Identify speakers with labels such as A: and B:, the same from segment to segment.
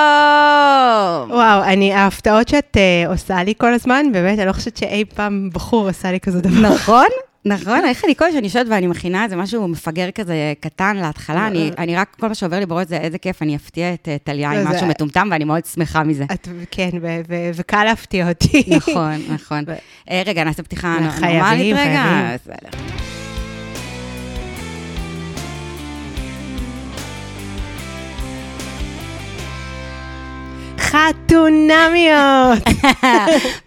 A: שלום!
B: וואו, אני, ההפתעות שאת אה, עושה לי כל הזמן, באמת, אני לא חושבת שאי פעם בחור עשה לי כזה דבר.
A: נכון? נכון, איך אני כל שאני יושבת ואני מכינה איזה משהו מפגר כזה קטן להתחלה, אני, אני רק, כל מה שעובר לי בראש זה איזה כיף, אני אפתיע את אה, טליה עם
B: לא, זה-
A: משהו מטומטם ואני מאוד שמחה מזה.
B: את, כן, ו- ו- וקל להפתיע אותי.
A: נכון, נכון.
B: ו-
A: אה, רגע, נעשה פתיחה
B: לא,
A: נ-
B: חייבים,
A: נורמלית רגע? אה,
B: חייבים.
A: בסדר.
B: חתונמיות!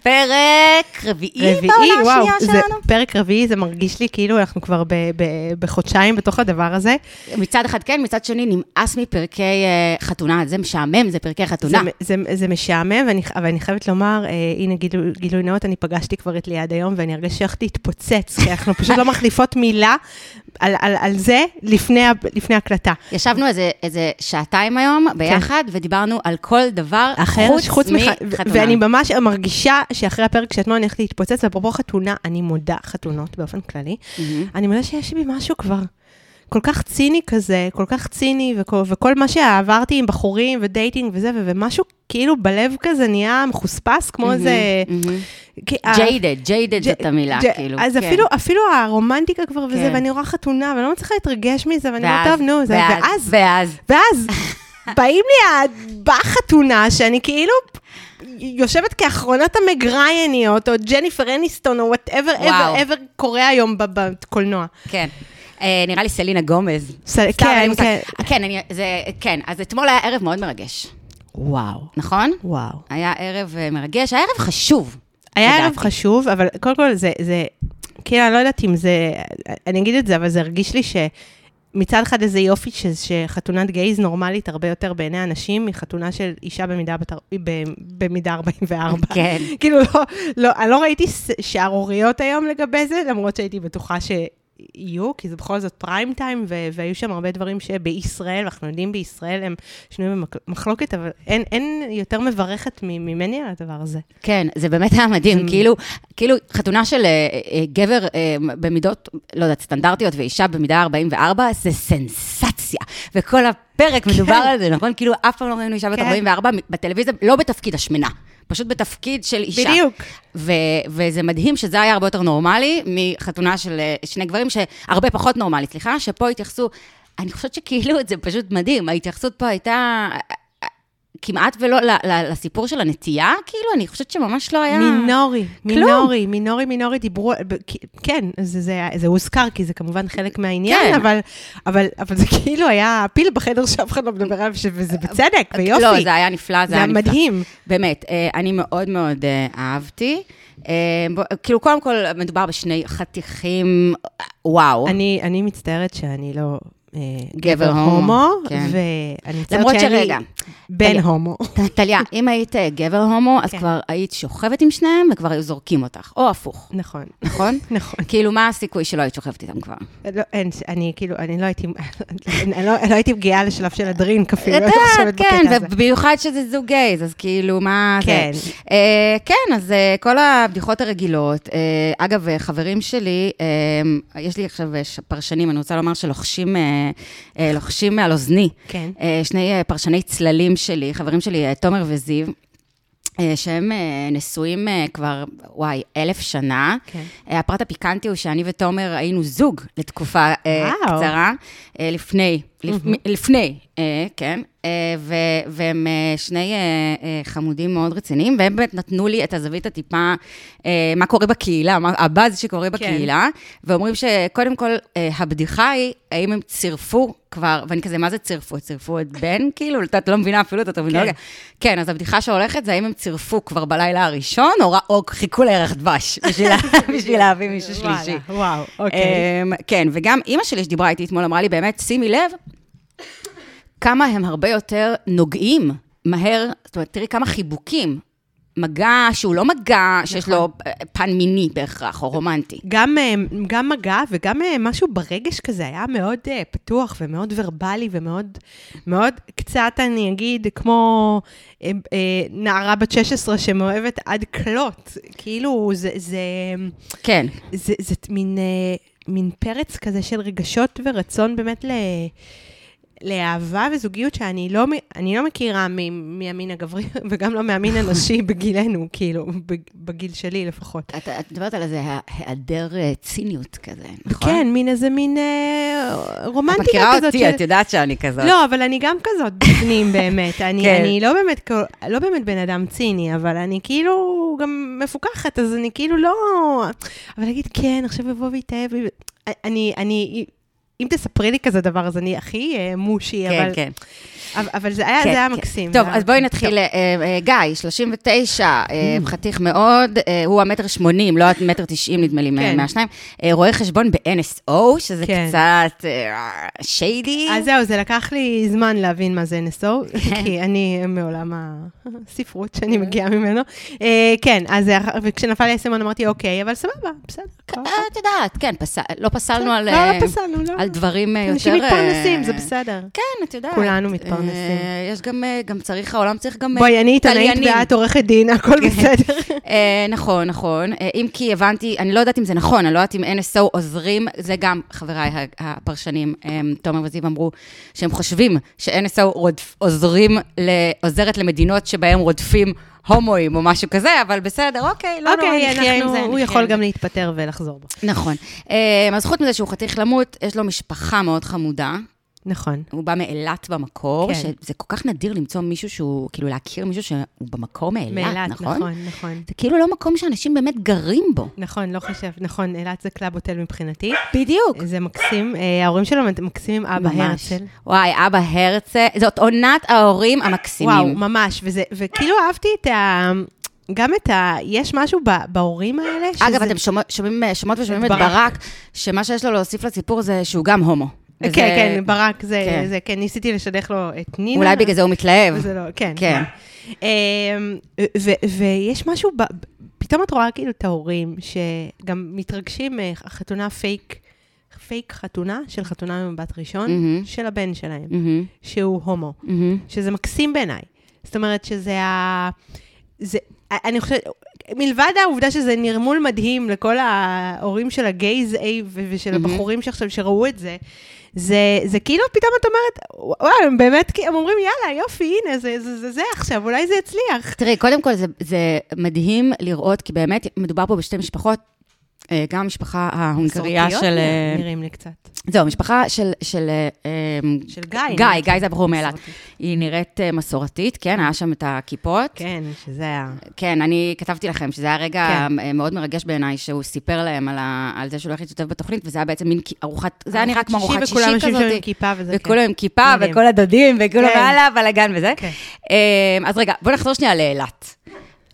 A: פרק רביעי בעונה השנייה
B: זה
A: שלנו.
B: פרק רביעי, זה מרגיש לי כאילו אנחנו כבר ב- ב- בחודשיים בתוך הדבר הזה.
A: מצד אחד כן, מצד שני נמאס מפרקי אה, חתונה, זה משעמם, זה פרקי
B: זה,
A: חתונה.
B: זה, זה משעמם, ואני, אבל אני חייבת לומר, אה, הנה גילוי, גילוי נאות, אני פגשתי כבר את ליעד היום, ואני הרגשתי שהולכת להתפוצץ, כי אנחנו פשוט לא מחליפות מילה על, על, על זה לפני, ה- לפני הקלטה.
A: ישבנו איזה, איזה שעתיים היום ביחד, ודיברנו על כל דבר
B: אחר,
A: חוץ,
B: כן. חוץ מח- ו-
A: מחתונה.
B: ואני ממש מרגישה שאחרי הפרק שאתמול אני הולכת להתפוצץ, ואפרופו חתונה, אני מודה, חתונות באופן כללי,
A: מהמם.
B: אני מודה שיש בי משהו כבר כל כך ציני כזה, כל כך ציני, וכל, וכל מה שעברתי עם בחורים ודייטינג וזה, ו- ומשהו כאילו בלב כזה נהיה מחוספס, כמו
A: מהמם,
B: איזה...
A: מהמם.
B: כי ה-
A: ג'יידד, ג'יידד
B: אה, ג'-
A: זאת המילה,
B: ג'-
A: כאילו.
B: אז
A: כן.
B: אפילו, אפילו הרומנטיקה כבר וזה,
A: כן.
B: ואני רואה חתונה, ואני לא מצליחה להתרגש מזה, ואני אומרת,
A: ואז,
B: טוב, נו, זה, ואז,
A: ואז,
B: ואז באים לי, ה- באה חתונה שאני כאילו יושבת כאחרונת המגרייניות, או ג'ניפר אניסטון, או וואטאבר
A: וואו.
B: אבר אבר קורה היום ב- בקולנוע.
A: כן. אה, נראה לי סלינה גומז.
B: ס-
A: סתם,
B: כן,
A: אין לי מושג.
B: כן.
A: אה, כן, אני- זה- כן, אז אתמול היה ערב מאוד מרגש,
B: וואו.
A: נכון?
B: וואו.
A: היה ערב אה, מרגש, היה ערב חשוב.
B: היה ערב
A: לדעתי.
B: חשוב, אבל קודם כל זה, זה, כאילו, אני לא יודעת אם זה, אני אגיד את זה, אבל זה הרגיש לי ש... מצד אחד איזה יופי ש, שחתונת גייז נורמלית הרבה יותר בעיני אנשים מחתונה של אישה במידה, בת, אר- ב, במידה 44.
A: כן.
B: כאילו, לא, לא, אני לא ראיתי ס- שערוריות היום לגבי זה, למרות שהייתי בטוחה שיהיו, כי זה בכל זאת פריים טיים, ו- והיו שם הרבה דברים שבישראל, ואנחנו יודעים בישראל, הם שנויים במחלוקת, אבל אין, אין יותר מברכת מ- ממני על הדבר הזה.
A: כן, זה באמת היה מדהים, כאילו, כאילו חתונה של אה, אה, גבר אה, במידות, לא יודעת, סטנדרטיות, ואישה במידה 44, זה סנסציה. וכל הפרק מדובר על זה, נכון? כאילו, אף פעם לא ראינו אישה בת
B: כן.
A: 44 בטלוויזיה, לא בתפקיד השמנה, פשוט בתפקיד של אישה.
B: בדיוק.
A: ו- וזה מדהים שזה היה הרבה יותר נורמלי מחתונה של אה, שני גברים, שהרבה פחות נורמלי, סליחה, שפה התייחסו, אני חושבת שכאילו זה פשוט מדהים, ההתייחסות פה הייתה אה, כמעט ולא ל- ל- לסיפור של הנטייה, כאילו, אני חושבת שממש לא היה...
B: מינורי,
A: כלום.
B: מינורי, מינורי, מינורי, דיברו, ב- כ- כן, זה, זה, זה הוזכר, כי זה כמובן חלק מהעניין,
A: כן.
B: אבל, אבל, אבל זה כאילו היה פיל בחדר שאף אחד לא מדבר עליו, ש- וזה בצדק, ויופי.
A: אה, לא, זה היה נפלא, זה
B: זה
A: היה נפלא.
B: מדהים.
A: באמת, אה, אני מאוד מאוד אה, אהבתי. אה, בוא- כאילו, קודם כל, מדובר בשני חתיכים, אה, וואו.
B: אני, אני מצטערת שאני לא אה,
A: גבר
B: גבר
A: הומו,
B: הומו,
A: כן.
B: ואני מצטערת
A: למרות
B: שאני
A: שרגע,
B: בן
A: רגע.
B: הומו.
A: ט- טליה, אם היית אה, גבר הומו, אז
B: כן.
A: כבר היית שוכבת עם שניהם וכבר היו זורקים אותך, או הפוך,
B: נכון,
A: נכון?
B: נכון.
A: כאילו, מה הסיכוי שלא היית שוכבת איתם כבר?
B: לא, אין, אני כאילו, אני לא הייתי, אני לא, אני לא הייתי מגיעה לשלב של הדרינק אפילו, אני לא חושבת
A: יודעת,
B: בקטע
A: כן,
B: הזה.
A: ובמיוחד שזה זוג גייז, אז כאילו, מה זה?
B: כן.
A: אה, כן, אז אה, כל הבדיחות הרגילות. אה, אגב, אה, חברים שלי, אה, יש לי עכשיו אה, ש- פרשנים, אני רוצה לומר שלוחשים אה, אה, לוחשים על אוזני.
B: כן.
A: אה, שני אה, פרשני צללים שלי, חברים שלי, אה, תומר וזיו. אה, שהם אה, נשואים אה, כבר, וואי, אלף שנה.
B: כן.
A: אה, הפרט הפיקנטי הוא שאני ותומר היינו זוג לתקופה אה,
B: וואו.
A: קצרה, אה, לפני, לפ- מ- לפני, אה, כן, אה, ו- והם אה, שני אה, אה, חמודים מאוד רציניים, והם באמת נתנו לי את הזווית הטיפה, אה, מה קורה בקהילה, מה- הבאז שקורה בקהילה, ואומרים שקודם כל, אה, הבדיחה היא, האם הם צירפו כבר, ואני כזה, מה זה צירפו? צירפו את בן, כאילו? את לא מבינה אפילו את הטרמינולוגיה. כן, אז הבדיחה שהולכת זה האם הם צירפו כבר בלילה הראשון, או ר- או חיכו לירח דבש בשביל לה- בשביל להביא מישהו שלישי.
B: וואלה, וואו, אוקיי.
A: אמ, כן, וגם אימא שלי שדיברה איתי אתמול אמרה לי, באמת, שימי לב כמה הם הרבה יותר נוגעים מהר, זאת אומרת, תראי כמה חיבוקים. מגע שהוא לא מגע שיש לו אה, פן מיני בהכרח, או רומנטי.
B: גם, אה, גם מגע וגם אה, משהו ברגש כזה היה מאוד אה, פתוח ומאוד ורבלי ומאוד מאוד קצת, אני אגיד, כמו אה, אה, נערה בת 16 שמאוהבת עד כלות. כאילו, זה, זה,
A: כן,
B: זה, זה מין, אה, מין פרץ כזה של רגשות ורצון באמת ל... לאהבה וזוגיות שאני לא, מ- אני לא מכירה מ- מהמין הגברי וגם לא מהמין הנשי בגילנו, כאילו, בג- בגיל שלי לפחות.
A: את את מדברת על איזה היעדר אה, ציניות כזה, נכון?
B: כן, מין איזה מין אה,
A: את
B: רומנטיקה
A: מכירה
B: כזאת.
A: אותי,
B: של-
A: את יודעת שאני כזאת.
B: לא, אבל אני גם כזאת בפנים באמת. אני,
A: כן.
B: אני לא, באמת, כל- לא באמת בן אדם ציני, אבל אני כאילו גם מפוקחת, אז אני כאילו לא... אבל להגיד, כן, עכשיו יבוא ויתאהב בי, ו- אני, אני, אם תספרי לי כזה דבר, אז אני הכי אה, מושי,
A: כן,
B: אבל,
A: כן.
B: אבל, אבל זה היה,
A: כן,
B: אה, זה היה
A: כן.
B: מקסים. זה
A: טוב,
B: היה
A: אז בואי
B: מקסים. Mm.
A: נתחיל. אה, אה, גיא, 39, אה, חתיך מאוד, אה, הוא המטר 80, לא המטר 90, נדמה לי, מה-
B: כן.
A: מהשניים. אה, רואה חשבון ב-NSO, שזה
B: כן.
A: קצת אה, שיידי.
B: אז זהו, זה לקח לי זמן להבין מה זה NSO, כי אני מעולם הספרות
A: כן.
B: שאני מגיעה ממנו. אה, כן, אז אה, וכשנפל לי האסימון אמרתי, אוקיי, אבל סבבה, בסדר. כל
A: אה,
B: אחד."
A: את יודעת, כן, פס- לא פסלנו על
B: לא,
A: אה,
B: לא פסלנו, לא.
A: על דברים אה, יותר...
B: אנשים מתפרנסים,
A: אה,
B: זה בסדר.
A: כן, את יודעת.
B: כולנו מתפרנסים.
A: אה, יש גם, אה, גם צריך, העולם צריך גם... אה,
B: בואי, אני עיתונאית
A: תליינים.
B: ואת עורכת דין, הכל
A: כן.
B: בסדר.
A: אה, נכון, נכון. אה, אם כי הבנתי, אני לא יודעת אם זה נכון, אני לא יודעת אם NSO עוזרים, זה גם חבריי ה- הפרשנים, אה, תומר וזיו אמרו, שהם חושבים ש-NSO רודפ- עוזרים, ל- עוזרת למדינות שבהן רודפים הומואים או משהו כזה, אבל בסדר, אוקיי, לא נורא,
B: אוקיי,
A: נחיה עם זה. כן.
B: אנחנו, הוא
A: נחיה
B: יכול
A: עם זה.
B: גם להתפטר ולחזור בו.
A: נכון. אה, אז חוץ מזה שהוא חתיך למות, יש לו משפחה מאוד חמודה.
B: נכון.
A: הוא בא מאילת במקור,
B: כן.
A: שזה כל כך נדיר למצוא מישהו שהוא, כאילו להכיר מישהו שהוא במקור מאילת,
B: מאילת,
A: נכון?
B: נכון, נכון.
A: זה כאילו לא מקום שאנשים באמת גרים בו.
B: נכון, לא חושב, נכון, אילת זה קלאב הוטל מבחינתי.
A: בדיוק.
B: זה מקסים, אה, ההורים שלו מקסימים, אבא
A: אוקיי. ממש.
B: הרצל.
A: וואי, אבא הרצל, זאת עונת ההורים המקסימים.
B: וואו, ממש, וזה, וכאילו אהבתי את ה... גם את ה... יש משהו ב, בהורים האלה, שזה...
A: אגב, אתם שומע- שומעים- אה, שומעות ושומעים את
B: את
A: ברק,
B: ברק.
A: שמה שיש לו להוסיף לסיפור זה שהוא גם הומו.
B: כן,
A: וזה-
B: כן, ברק, זה,
A: כן.
B: כן. זה, כן, ניסיתי לשדך לו את נינה.
A: אולי בגלל זה הוא מתלהב.
B: זה לא, כן.
A: כן.
B: אמ, ו- ויש משהו, ב- פתאום את רואה כאילו את ההורים שגם מתרגשים מהחתונה פייק, פייק חתונה של חתונה ממבט ראשון,
A: מהמם.
B: של הבן שלהם,
A: מהמם,
B: שהוא הומו,
A: מהמם.
B: שזה מקסים בעיניי. זאת אומרת שזה ה... זה, אני חושבת, מלבד העובדה שזה נרמול מדהים לכל ההורים של הגייז איי ו- ושל
A: מהמם.
B: הבחורים שעכשיו שראו את זה, זה, זה כאילו פתאום את אומרת, וואו, הם באמת, כי- הם אומרים, יאללה, יופי, הנה, זה זה, זה, זה עכשיו, אולי זה יצליח.
A: תראי, קודם כל זה, זה מדהים לראות, כי באמת מדובר פה בשתי משפחות, אה, גם המשפחה ההונגריה
B: מסורתיות
A: של... אה,
B: נראים לי קצת.
A: זהו, המשפחה של... של אה, אה,
B: של גיא.
A: גיא,
B: נראית
A: גיא זה הבחור מאילת.
B: מסורתית.
A: היא נראית אה, מסורתית, כן, היה שם את הכיפות.
B: כן, שזה ה...
A: כן, אני כתבתי לכם שזה היה רגע
B: כן.
A: אה, מאוד מרגש בעיניי, שהוא סיפר להם על, ה, על זה שהוא הולך להשתתף בתוכנית, וזה היה בעצם מין כי- ארוחת, זה היה נראה כמו ארוחת שישי
B: וכולם יושבים שם עם
A: כזאת.
B: כיפה וזה כן.
A: וכולם עם כיפה,
B: מדהים.
A: וכל הדודים, וכולם
B: כן.
A: הלאה, בלאגן וזה.
B: כן.
A: אה, אז רגע, בוא נחזור שנייה לאילת.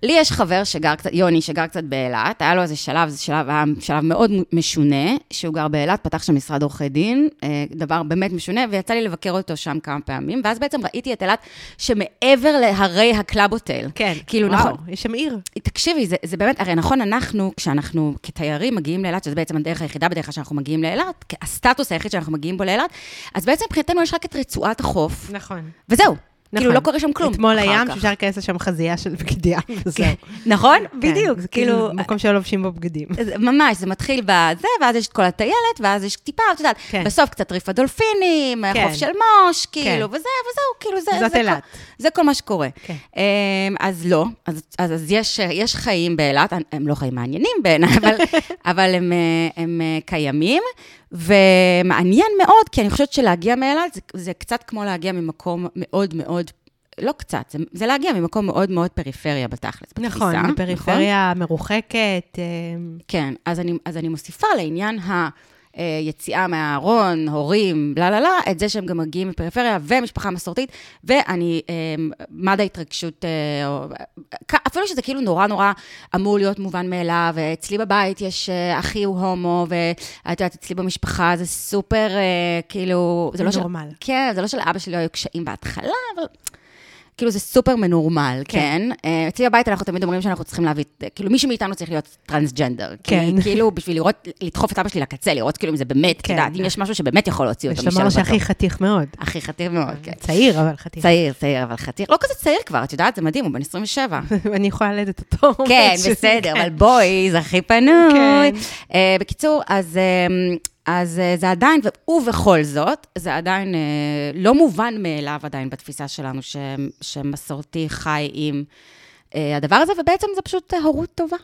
A: לי יש חבר שגר קצת, יוני, שגר קצת באילת, היה לו איזה שלב, זה שלב, היה שלב מאוד משונה, שהוא גר באילת, פתח שם משרד עורכי דין, אה, דבר באמת משונה, ויצא לי לבקר אותו שם כמה פעמים, ואז בעצם ראיתי את אילת שמעבר להרי הקלאב הוטל.
B: כן.
A: כאילו,
B: וואו,
A: נכון,
B: יש שם עיר.
A: תקשיבי, זה, זה באמת, הרי נכון, אנחנו, כשאנחנו כתיירים מגיעים לאילת, שזה בעצם הדרך היחידה בדרך כלל שאנחנו מגיעים לאילת, כ- הסטטוס היחיד שאנחנו מגיעים בו לאילת, אז בעצם מבחינתנו יש רק את רצועת החוף,
B: נכון.
A: וזהו. כאילו,
B: נכון.
A: לא קורה שם כלום.
B: אתמול
A: אחר
B: הים,
A: כך.
B: שאפשר להיכנס לשם חזייה של בגדיה, וזהו.
A: כן, נכון?
B: כן,
A: בדיוק,
B: זה
A: כאילו...
B: מקום שלא לובשים בו בגדים.
A: זה- ממש, זה מתחיל בזה, ואז יש את כל הטיילת, ואז יש טיפה, את יודעת,
B: כן.
A: בסוף קצת ריף הדולפינים,
B: כן.
A: חוף של מוש, כאילו, וזה, וזהו, כאילו, זה...
B: זאת
A: זה
B: אילת.
A: כל- זה כל מה שקורה.
B: כן.
A: אמ, אז לא, אז, אז, אז יש, יש חיים באילת, הם- הם לא חיים מעניינים בעיניי, אבל, אבל הם, אה, הם אה, קיימים, ומעניין מאוד, כי אני חושבת שלהגיע מאילת זה, זה קצת כמו להגיע ממקום מאוד מאוד, לא קצת, זה, זה להגיע ממקום מאוד מאוד פריפריה בתכלס, בתפיסה.
B: נכון, פריפריה מרוחקת. אמ,
A: כן, אז אני, אז אני מוסיפה לעניין ה... אה, יציאה מהארון, הורים, לה לה לה, את זה שהם גם מגיעים מפריפריה ומשפחה מסורתית, ואני, אה, מד ההתרגשות, אה, או- כ- אפילו שזה כאילו נורא נורא אמור להיות מובן מאליו, אצלי בבית יש, אה, אחי הוא הומו, ואת יודעת, אצלי במשפחה זה סופר, אה, כאילו, זה לא של...
B: נורמל.
A: כן, זה לא שלאבא שלי היו קשיים בהתחלה, אבל... כאילו, זה סופר מנורמל, כן? אה, אצלי בבית אנחנו תמיד אומרים שאנחנו צריכים להביא, כאילו, מישהו מאיתנו צריך להיות טרנסג'נדר. כן.
B: כן.
A: כאילו, בשביל לראות, לדחוף את אבא שלי לקצה, לראות כאילו אם זה באמת, את
B: כן.
A: יודעת, אם יש משהו שבאמת יכול להוציא
B: יש
A: אותו
B: לומר
A: משלווה.
B: שהכי אה, חתיך מאוד.
A: הכי חתיר מאוד, כן.
B: צעיר, אבל חתיך.
A: צעיר, צעיר, אבל חתיר. לא כזה צעיר כבר, את יודעת, זה מדהים, הוא בן 27.
B: אני יכולה ללדת אותו.
A: כן,
B: משהו,
A: בסדר,
B: כן.
A: אבל בואי, זה הכי פנוי.
B: כן.
A: אה, בקיצור, אז... אה, אז אה, זה עדיין, ובכל זאת, זה עדיין אה, לא מובן מאליו עדיין בתפיסה שלנו, ש, שמסורתי חי עם אה, הדבר הזה, ובעצם זה פשוט אה, הורות טובה,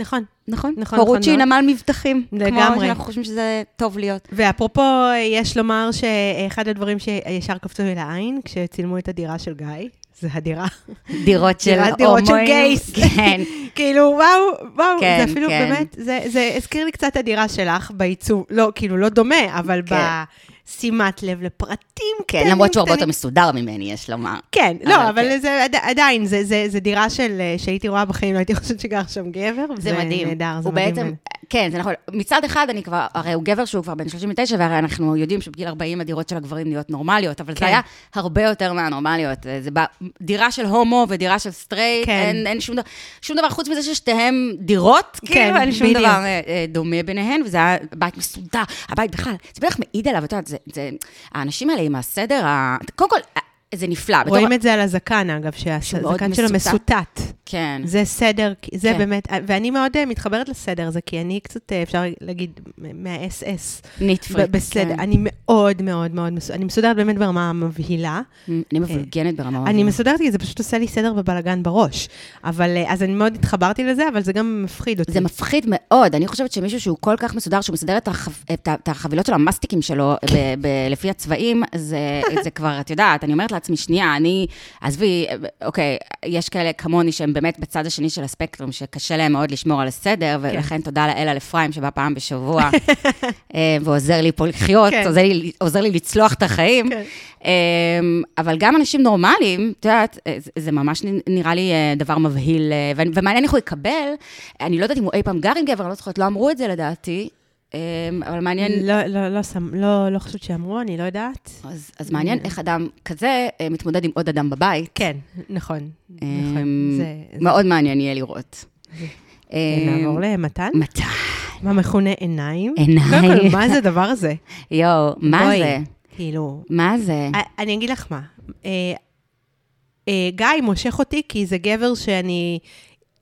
B: נכון.
A: נכון?
B: נכון,
A: הורות
B: נכון
A: שהיא
B: מאוד.
A: נמל מבטחים. כמו
B: לגמרי.
A: שאנחנו חושבים שזה טוב להיות.
B: ואפרופו, יש לומר שאחד הדברים שישר קפצו לי לעין, כשצילמו את הדירה של גיא, זה הדירה.
A: דירות של
B: דירת-
A: הומואים.
B: דירות של גייס.
A: כן.
B: כאילו, וואו, וואו,
A: כן,
B: זה אפילו
A: כן.
B: באמת, זה, זה הזכיר לי קצת את הדירה שלך בעיצוב, לא, כאילו, לא דומה, אבל
A: כן.
B: בשימת לב לפרטים קטנים.
A: כן, למרות שהוא הרבה יותר
B: קטנים.
A: מסודר ממני, יש לומר.
B: כן,
A: אבל
B: לא, אבל
A: כן.
B: זה עד- עדיין, זה- זה זה דירה של, אה, שהייתי רואה בחיים, לא הייתי חושבת שגר שם גבר.
A: זה מדהים.
B: נהדר, זה
A: הוא
B: מדהים.
A: בעצם, כן, זה נכון. מצד אחד, אני כבר, הרי הוא גבר שהוא כבר בן 39, והרי אנחנו יודעים שבגיל 40 הדירות של הגברים נהיות נורמליות, אבל זה
B: כן.
A: היה הרבה יותר מהנורמליות. אה, זה בא- דירה של הומו ודירה של סטרייט,
B: כן.
A: אין אין שום דבר, שום דבר חוץ מזה ששתיהן דירות, כאילו, אין שום
B: בדיוק.
A: דבר אה, אה, דומה ביניהן, וזה היה בית מסודר, הבית בכלל, זה בטח מעיד עליו, את יודעת, זה- זה, האנשים האלה עם הסדר, ה- קודם כל, אה, זה נפלא. בתור-
B: רואים את זה על הזקן, אגב,
A: מאוד
B: שהזקן שלו
A: מסוטט.
B: מסוטט.
A: כן.
B: זה סדר, כי- זה
A: כן.
B: באמת, ואני מאוד אה, מתחברת לסדר הזה, כי אני קצת, אה, אפשר להגיד, מ- מה-SS.
A: ניטפריט.
B: ב- בסדר, אני מאוד מאוד מאוד, מסו- אני מסודרת באמת ברמה המבהילה.
A: אני מבולגנת ברמה
B: אני מסודרת כי זה פשוט עושה לי סדר ובלאגן בראש. אבל, אה, אז אני מאוד התחברתי לזה, אבל זה גם מפחיד אותי.
A: זה מפחיד מאוד. אני חושבת שמישהו שהוא כל כך מסודר, שהוא מסדר את, החב... את, ה- את החבילות של המסטיקים שלו
B: כן.
A: ב... ב... לפי הצבעים, זה... זה כבר, את יודעת, אני אומרת לעצמי, שנייה, אני, עזבי, אוקיי, יש כאלה כמוני שהם באמת בצד השני של הספקטרום, שקשה להם מאוד לשמור על
B: כן.
A: הסדר, ולכן תודה לאל על אפרים שבא פעם בשבוע אה, ועוזר לי פה לחיות,
B: כן.
A: עוזר, לי, עוזר לי לצלוח את החיים.
B: כן.
A: אמ, אבל גם אנשים נורמליים, את יודעת, אה, זה- זה ממש נ- נראה לי אה, דבר מבהיל, אה, ו- ומעניין איך הוא יקבל, אני לא יודעת אם הוא אי פעם גר עם גבר, אני לא זוכרת, לא אמרו את זה לדעתי, אמ, אבל מעניין,
B: לא, לא, לא, שם- לא, לא חושבת שאמרו, אני לא יודעת.
A: אז אז מעניין איך אדם כזה אה, מתמודד עם עוד אדם בבית.
B: כן, נכון. נכון.
A: אמ,
B: זה... זה-
A: מאוד מעניין יהיה לראות. אמ,
B: אוקיי. נעבור למתן.
A: מתי?
B: מה מכונה עיניים?
A: עיניים.
B: קודם כל, מה זה הדבר הזה?
A: יואו, מה
B: בואי,
A: זה?
B: כאילו,
A: מה זה?
B: א- אני אגיד לך מה. אה, אה, גיא מושך אותי כי זה גבר שאני,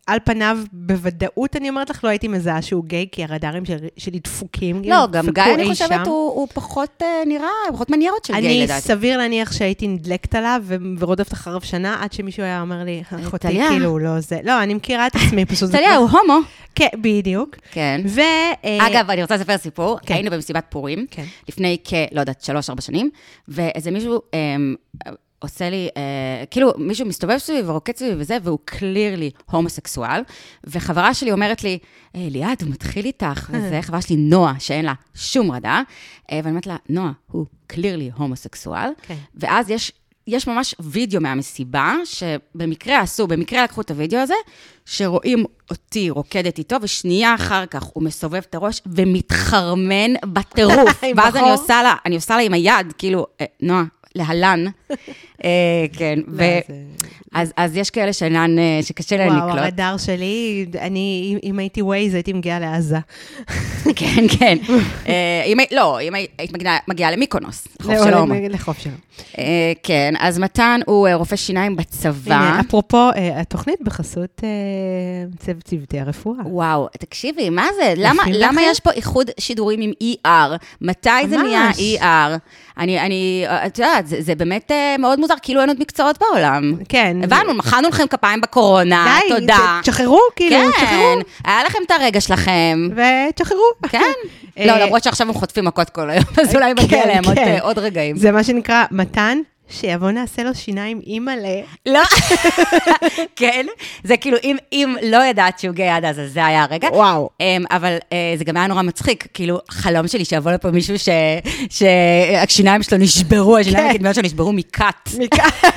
B: על פניו, בוודאות, אני אומרת לך, לא הייתי מזהה שהוא גיי, כי הרדארים של, שלי דפוקים.
A: לא,
B: הם
A: גם
B: דפקו
A: גיא,
B: אי
A: אני חושבת,
B: שם.
A: הוא הוא פחות אה, נראה, הוא פחות מנייר עוד של גיי,
B: אני
A: לדעתי.
B: סביר להניח שהייתי נדלקת עליו ו- ורודפת אחריו שנה, עד שמישהו היה אומר לי, אחותי,
A: טליה.
B: כאילו, לא זה. לא, אני מכירה את עצמי, פשוט...
A: טליה, הוא הומו.
B: כן, בדיוק.
A: כן.
B: ו... אה,
A: אגב, אני רוצה לספר סיפור.
B: כן.
A: היינו במסיבת פורים,
B: כן.
A: לפני כ... לא יודעת, שלוש-ארבע שנים, ואיזה מישהו אמ, עושה לי, אה, כאילו, מישהו מסתובב סביבי ורוקד סביבי וזה, והוא קלירלי הומוסקסואל, וחברה שלי אומרת לי, "אה, ליעד, הוא מתחיל איתך,
B: אה.
A: וזה, חברה שלי, נועה, שאין לה שום רדאר, אה, ואני אומרת לה, נועה, הוא קלירלי הומוסקסואל,
B: כן.
A: ואז יש... יש ממש וידאו מהמסיבה, שבמקרה עשו, במקרה לקחו את הוידאו הזה, שרואים אותי רוקדת איתו, ושנייה אחר כך הוא מסובב את הראש ומתחרמן בטירוף.
B: עם
A: ואז אני
B: בחור?
A: עושה לה, אני עושה לה עם היד, כאילו, "אה, נועה, להלן. אה, כן, ו...
B: זה-
A: אז, אז יש כאלה שאינן, אה, שקשה להן
B: וואו,
A: לקלוט.
B: הרדאר שלי, אני, אם- אם הייתי ווייז, הייתי מגיעה לעזה.
A: כן, כן. אה, אם, הי- לא, אם הי- היית מגיעה- מגיעה למיקונוס, חוף
B: לא,
A: של הומו.
B: לחוף שלום.
A: אה, כן, אז מתן הוא אה, רופא שיניים בצבא.
B: הנה, אפרופו, אה, התוכנית בחסות אה, צוות צוותי הרפואה.
A: וואו, תקשיבי, מה זה? למה,
B: יפים
A: למה
B: לכם?
A: יש פה איחוד שידורים עם ER? מתי זה נהיה
B: ממש.
A: ER? אני, אני, אה, את יודעת, זה, זה באמת אה, מאוד מוזר, כאילו אין עוד מקצועות בעולם.
B: כן.
A: הבנו, מחאנו לכם כפיים בקורונה,
B: די,
A: תודה.
B: ת- תשחררו, כאילו,
A: כן,
B: תשחררו.
A: היה לכם את הרגע שלכם.
B: ותשחררו.
A: כן.
B: אה,
A: לא, למרות שעכשיו הם חוטפים מכות כל היום, אז אולי מגיע
B: כן,
A: להם עוד,
B: כן.
A: אה, עוד רגעים.
B: זה מה שנקרא מתן, שיבוא נעשה לו שיניים אימא'לה.
A: לא, כן, זה כאילו, אם, אם לא ידעת שהוא גיי עד אז, אז זה היה הרגע.
B: וואו.
A: אמ, אבל אה, זה גם היה נורא מצחיק, כאילו, חלום שלי שיבוא לפה מישהו ש- שהשיניים שלו נשברו, השיניים
B: כן.
A: הקדמיות שלו נשברו מכת.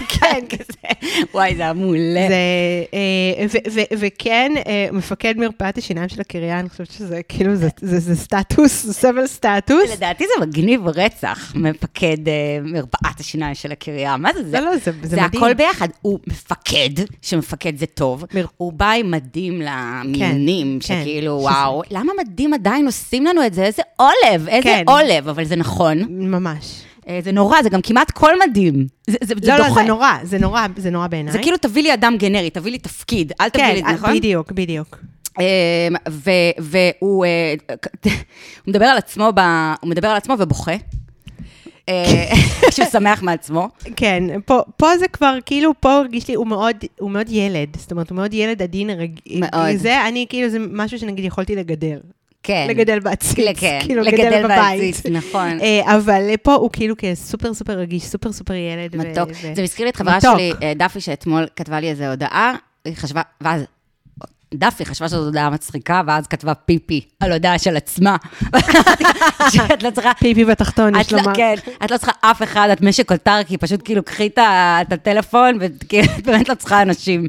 B: כן,
A: כזה. וואי, זה היה מעולה.
B: זה, אה, ו- ו- וכן, אה, מפקד מרפאת השיניים של הקריה, אני חושבת שזה כאילו, זה- זה זה סטטוס, זה סבל סטטוס.
A: לדעתי זה מגניב רצח, מפקד אה, מרפאת השיניים של הקריה. מה זה? זה
B: לא, לא, זה- זה מדהים.
A: הכל ביחד. הוא מפקד, שמפקד זה טוב.
B: מר-
A: הוא בא עם מדים למיונים,
B: כן,
A: שכאילו,
B: שזה-
A: וואו, למה מדים עדיין עושים לנו את זה? איזה עולב, איזה
B: כן.
A: עולב, אבל זה נכון.
B: ממש.
A: אה, זה נורא, זה גם כמעט כל מדים. זה זה- זה
B: לא, לא,
A: דוחה. כאילו,
B: זה נורא, זה נורא, זה נורא בעיניי.
A: זה כאילו, תביא לי אדם גנרי, תביא לי תפקיד, אל תביא לי את זה,
B: כן,
A: נכון?
B: בדיוק, בדיוק.
A: אמ, והוא אה, הוא מדבר על עצמו, ב- הוא מדבר על עצמו ובוכה. אה, כשהוא שמח מעצמו.
B: כן, פה, פה זה כבר, כאילו, פה הרגיש לי, הוא מאוד, הוא מאוד ילד. זאת אומרת, הוא מאוד ילד עדין, הרג...
A: מאוד.
B: זה, אני, כאילו, זה משהו שנגיד יכולתי לגדל.
A: כן.
B: לגדל בעציץ.
A: כן,
B: כאילו,
A: לגדל
B: לגדל בבית.
A: בעציץ, נכון.
B: אה, אבל אה, פה הוא כאילו כסופר סופר רגיש, סופר סופר ילד. ו-
A: מתוק.
B: ו-
A: זה מזכיר לי את חברה
B: מתוק.
A: שלי, אה, דפי, שאתמול כתבה לי איזו הודעה, היא חשבה, ואז... דפי חשבה שזו הודעה מצחיקה, ואז כתבה פיפי על הודעה של עצמה. שאת לא צריכה...
B: פיפי בתחתון,
A: את
B: יש
A: לא,
B: לומר.
A: כן, את לא צריכה אף אחד, את משק אוטרקי, פשוט כאילו קחי את ה- את הטלפון, וכאילו, את באמת לא צריכה אנשים.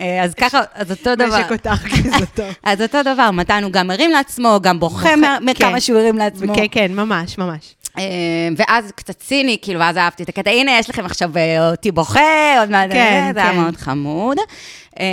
A: אה, אז ככה, אז אותו דבר.
B: משק אותך, כי זה טוב.
A: אז אותו דבר, מתן הוא גם מרים לעצמו, גם בוכה
B: בוכה,
A: מה-
B: כן.
A: מכמה שהוא הרים לעצמו.
B: כן, כן, ממש, ממש.
A: אה, ואז קצת ציני, כאילו, ואז אהבתי את הקטע, הנה, יש לכם עכשיו אה, אותי בוכה, עוד מעט, אה,
B: כן,
A: זה היה
B: כן.
A: מאוד חמוד. אמ,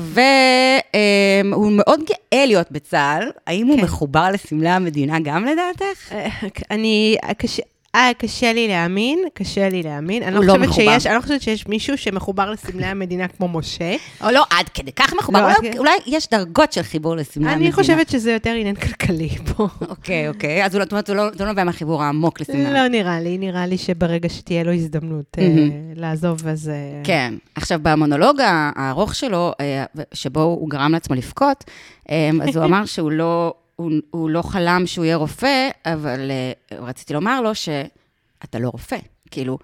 A: והוא אמ, מאוד גאה להיות בצה"ל, האם הוא
B: כן.
A: מחובר לסמלי המדינה גם לדעתך?
B: אה, אני, קשה... אה, קשה לי להאמין, קשה לי להאמין. אני לא,
A: הוא לא
B: חושבת
A: מחובר.
B: שיש, אני לא חושבת שיש מישהו שמחובר לסמלי המדינה כמו משה.
A: או לא, עד כדי כך מחובר,
B: לא,
A: אולי- אוקיי,
B: עד כדי-
A: אולי יש דרגות של חיבור לסמלי המדינה.
B: אני חושבת שזה יותר עניין כלכלי פה.
A: אוקיי, אוקיי, אז הוא לא- זאת אומרת, הוא לא- זה לא נובע מהחיבור העמוק לסמלי המדינה.
B: לא נראה לי, נראה לי שברגע שתהיה לו הזדמנות אה,
A: מהמם.
B: לעזוב, אז... אה,
A: כן. עכשיו, במונולוג ה- הארוך שלו, אה, שבו הוא גרם לעצמו לבכות, אה, אז הוא אמר שהוא לא, הוא, הוא לא חלם שהוא יהיה רופא, אבל אה, רציתי לומר לו שאתה לא רופא, כאילו,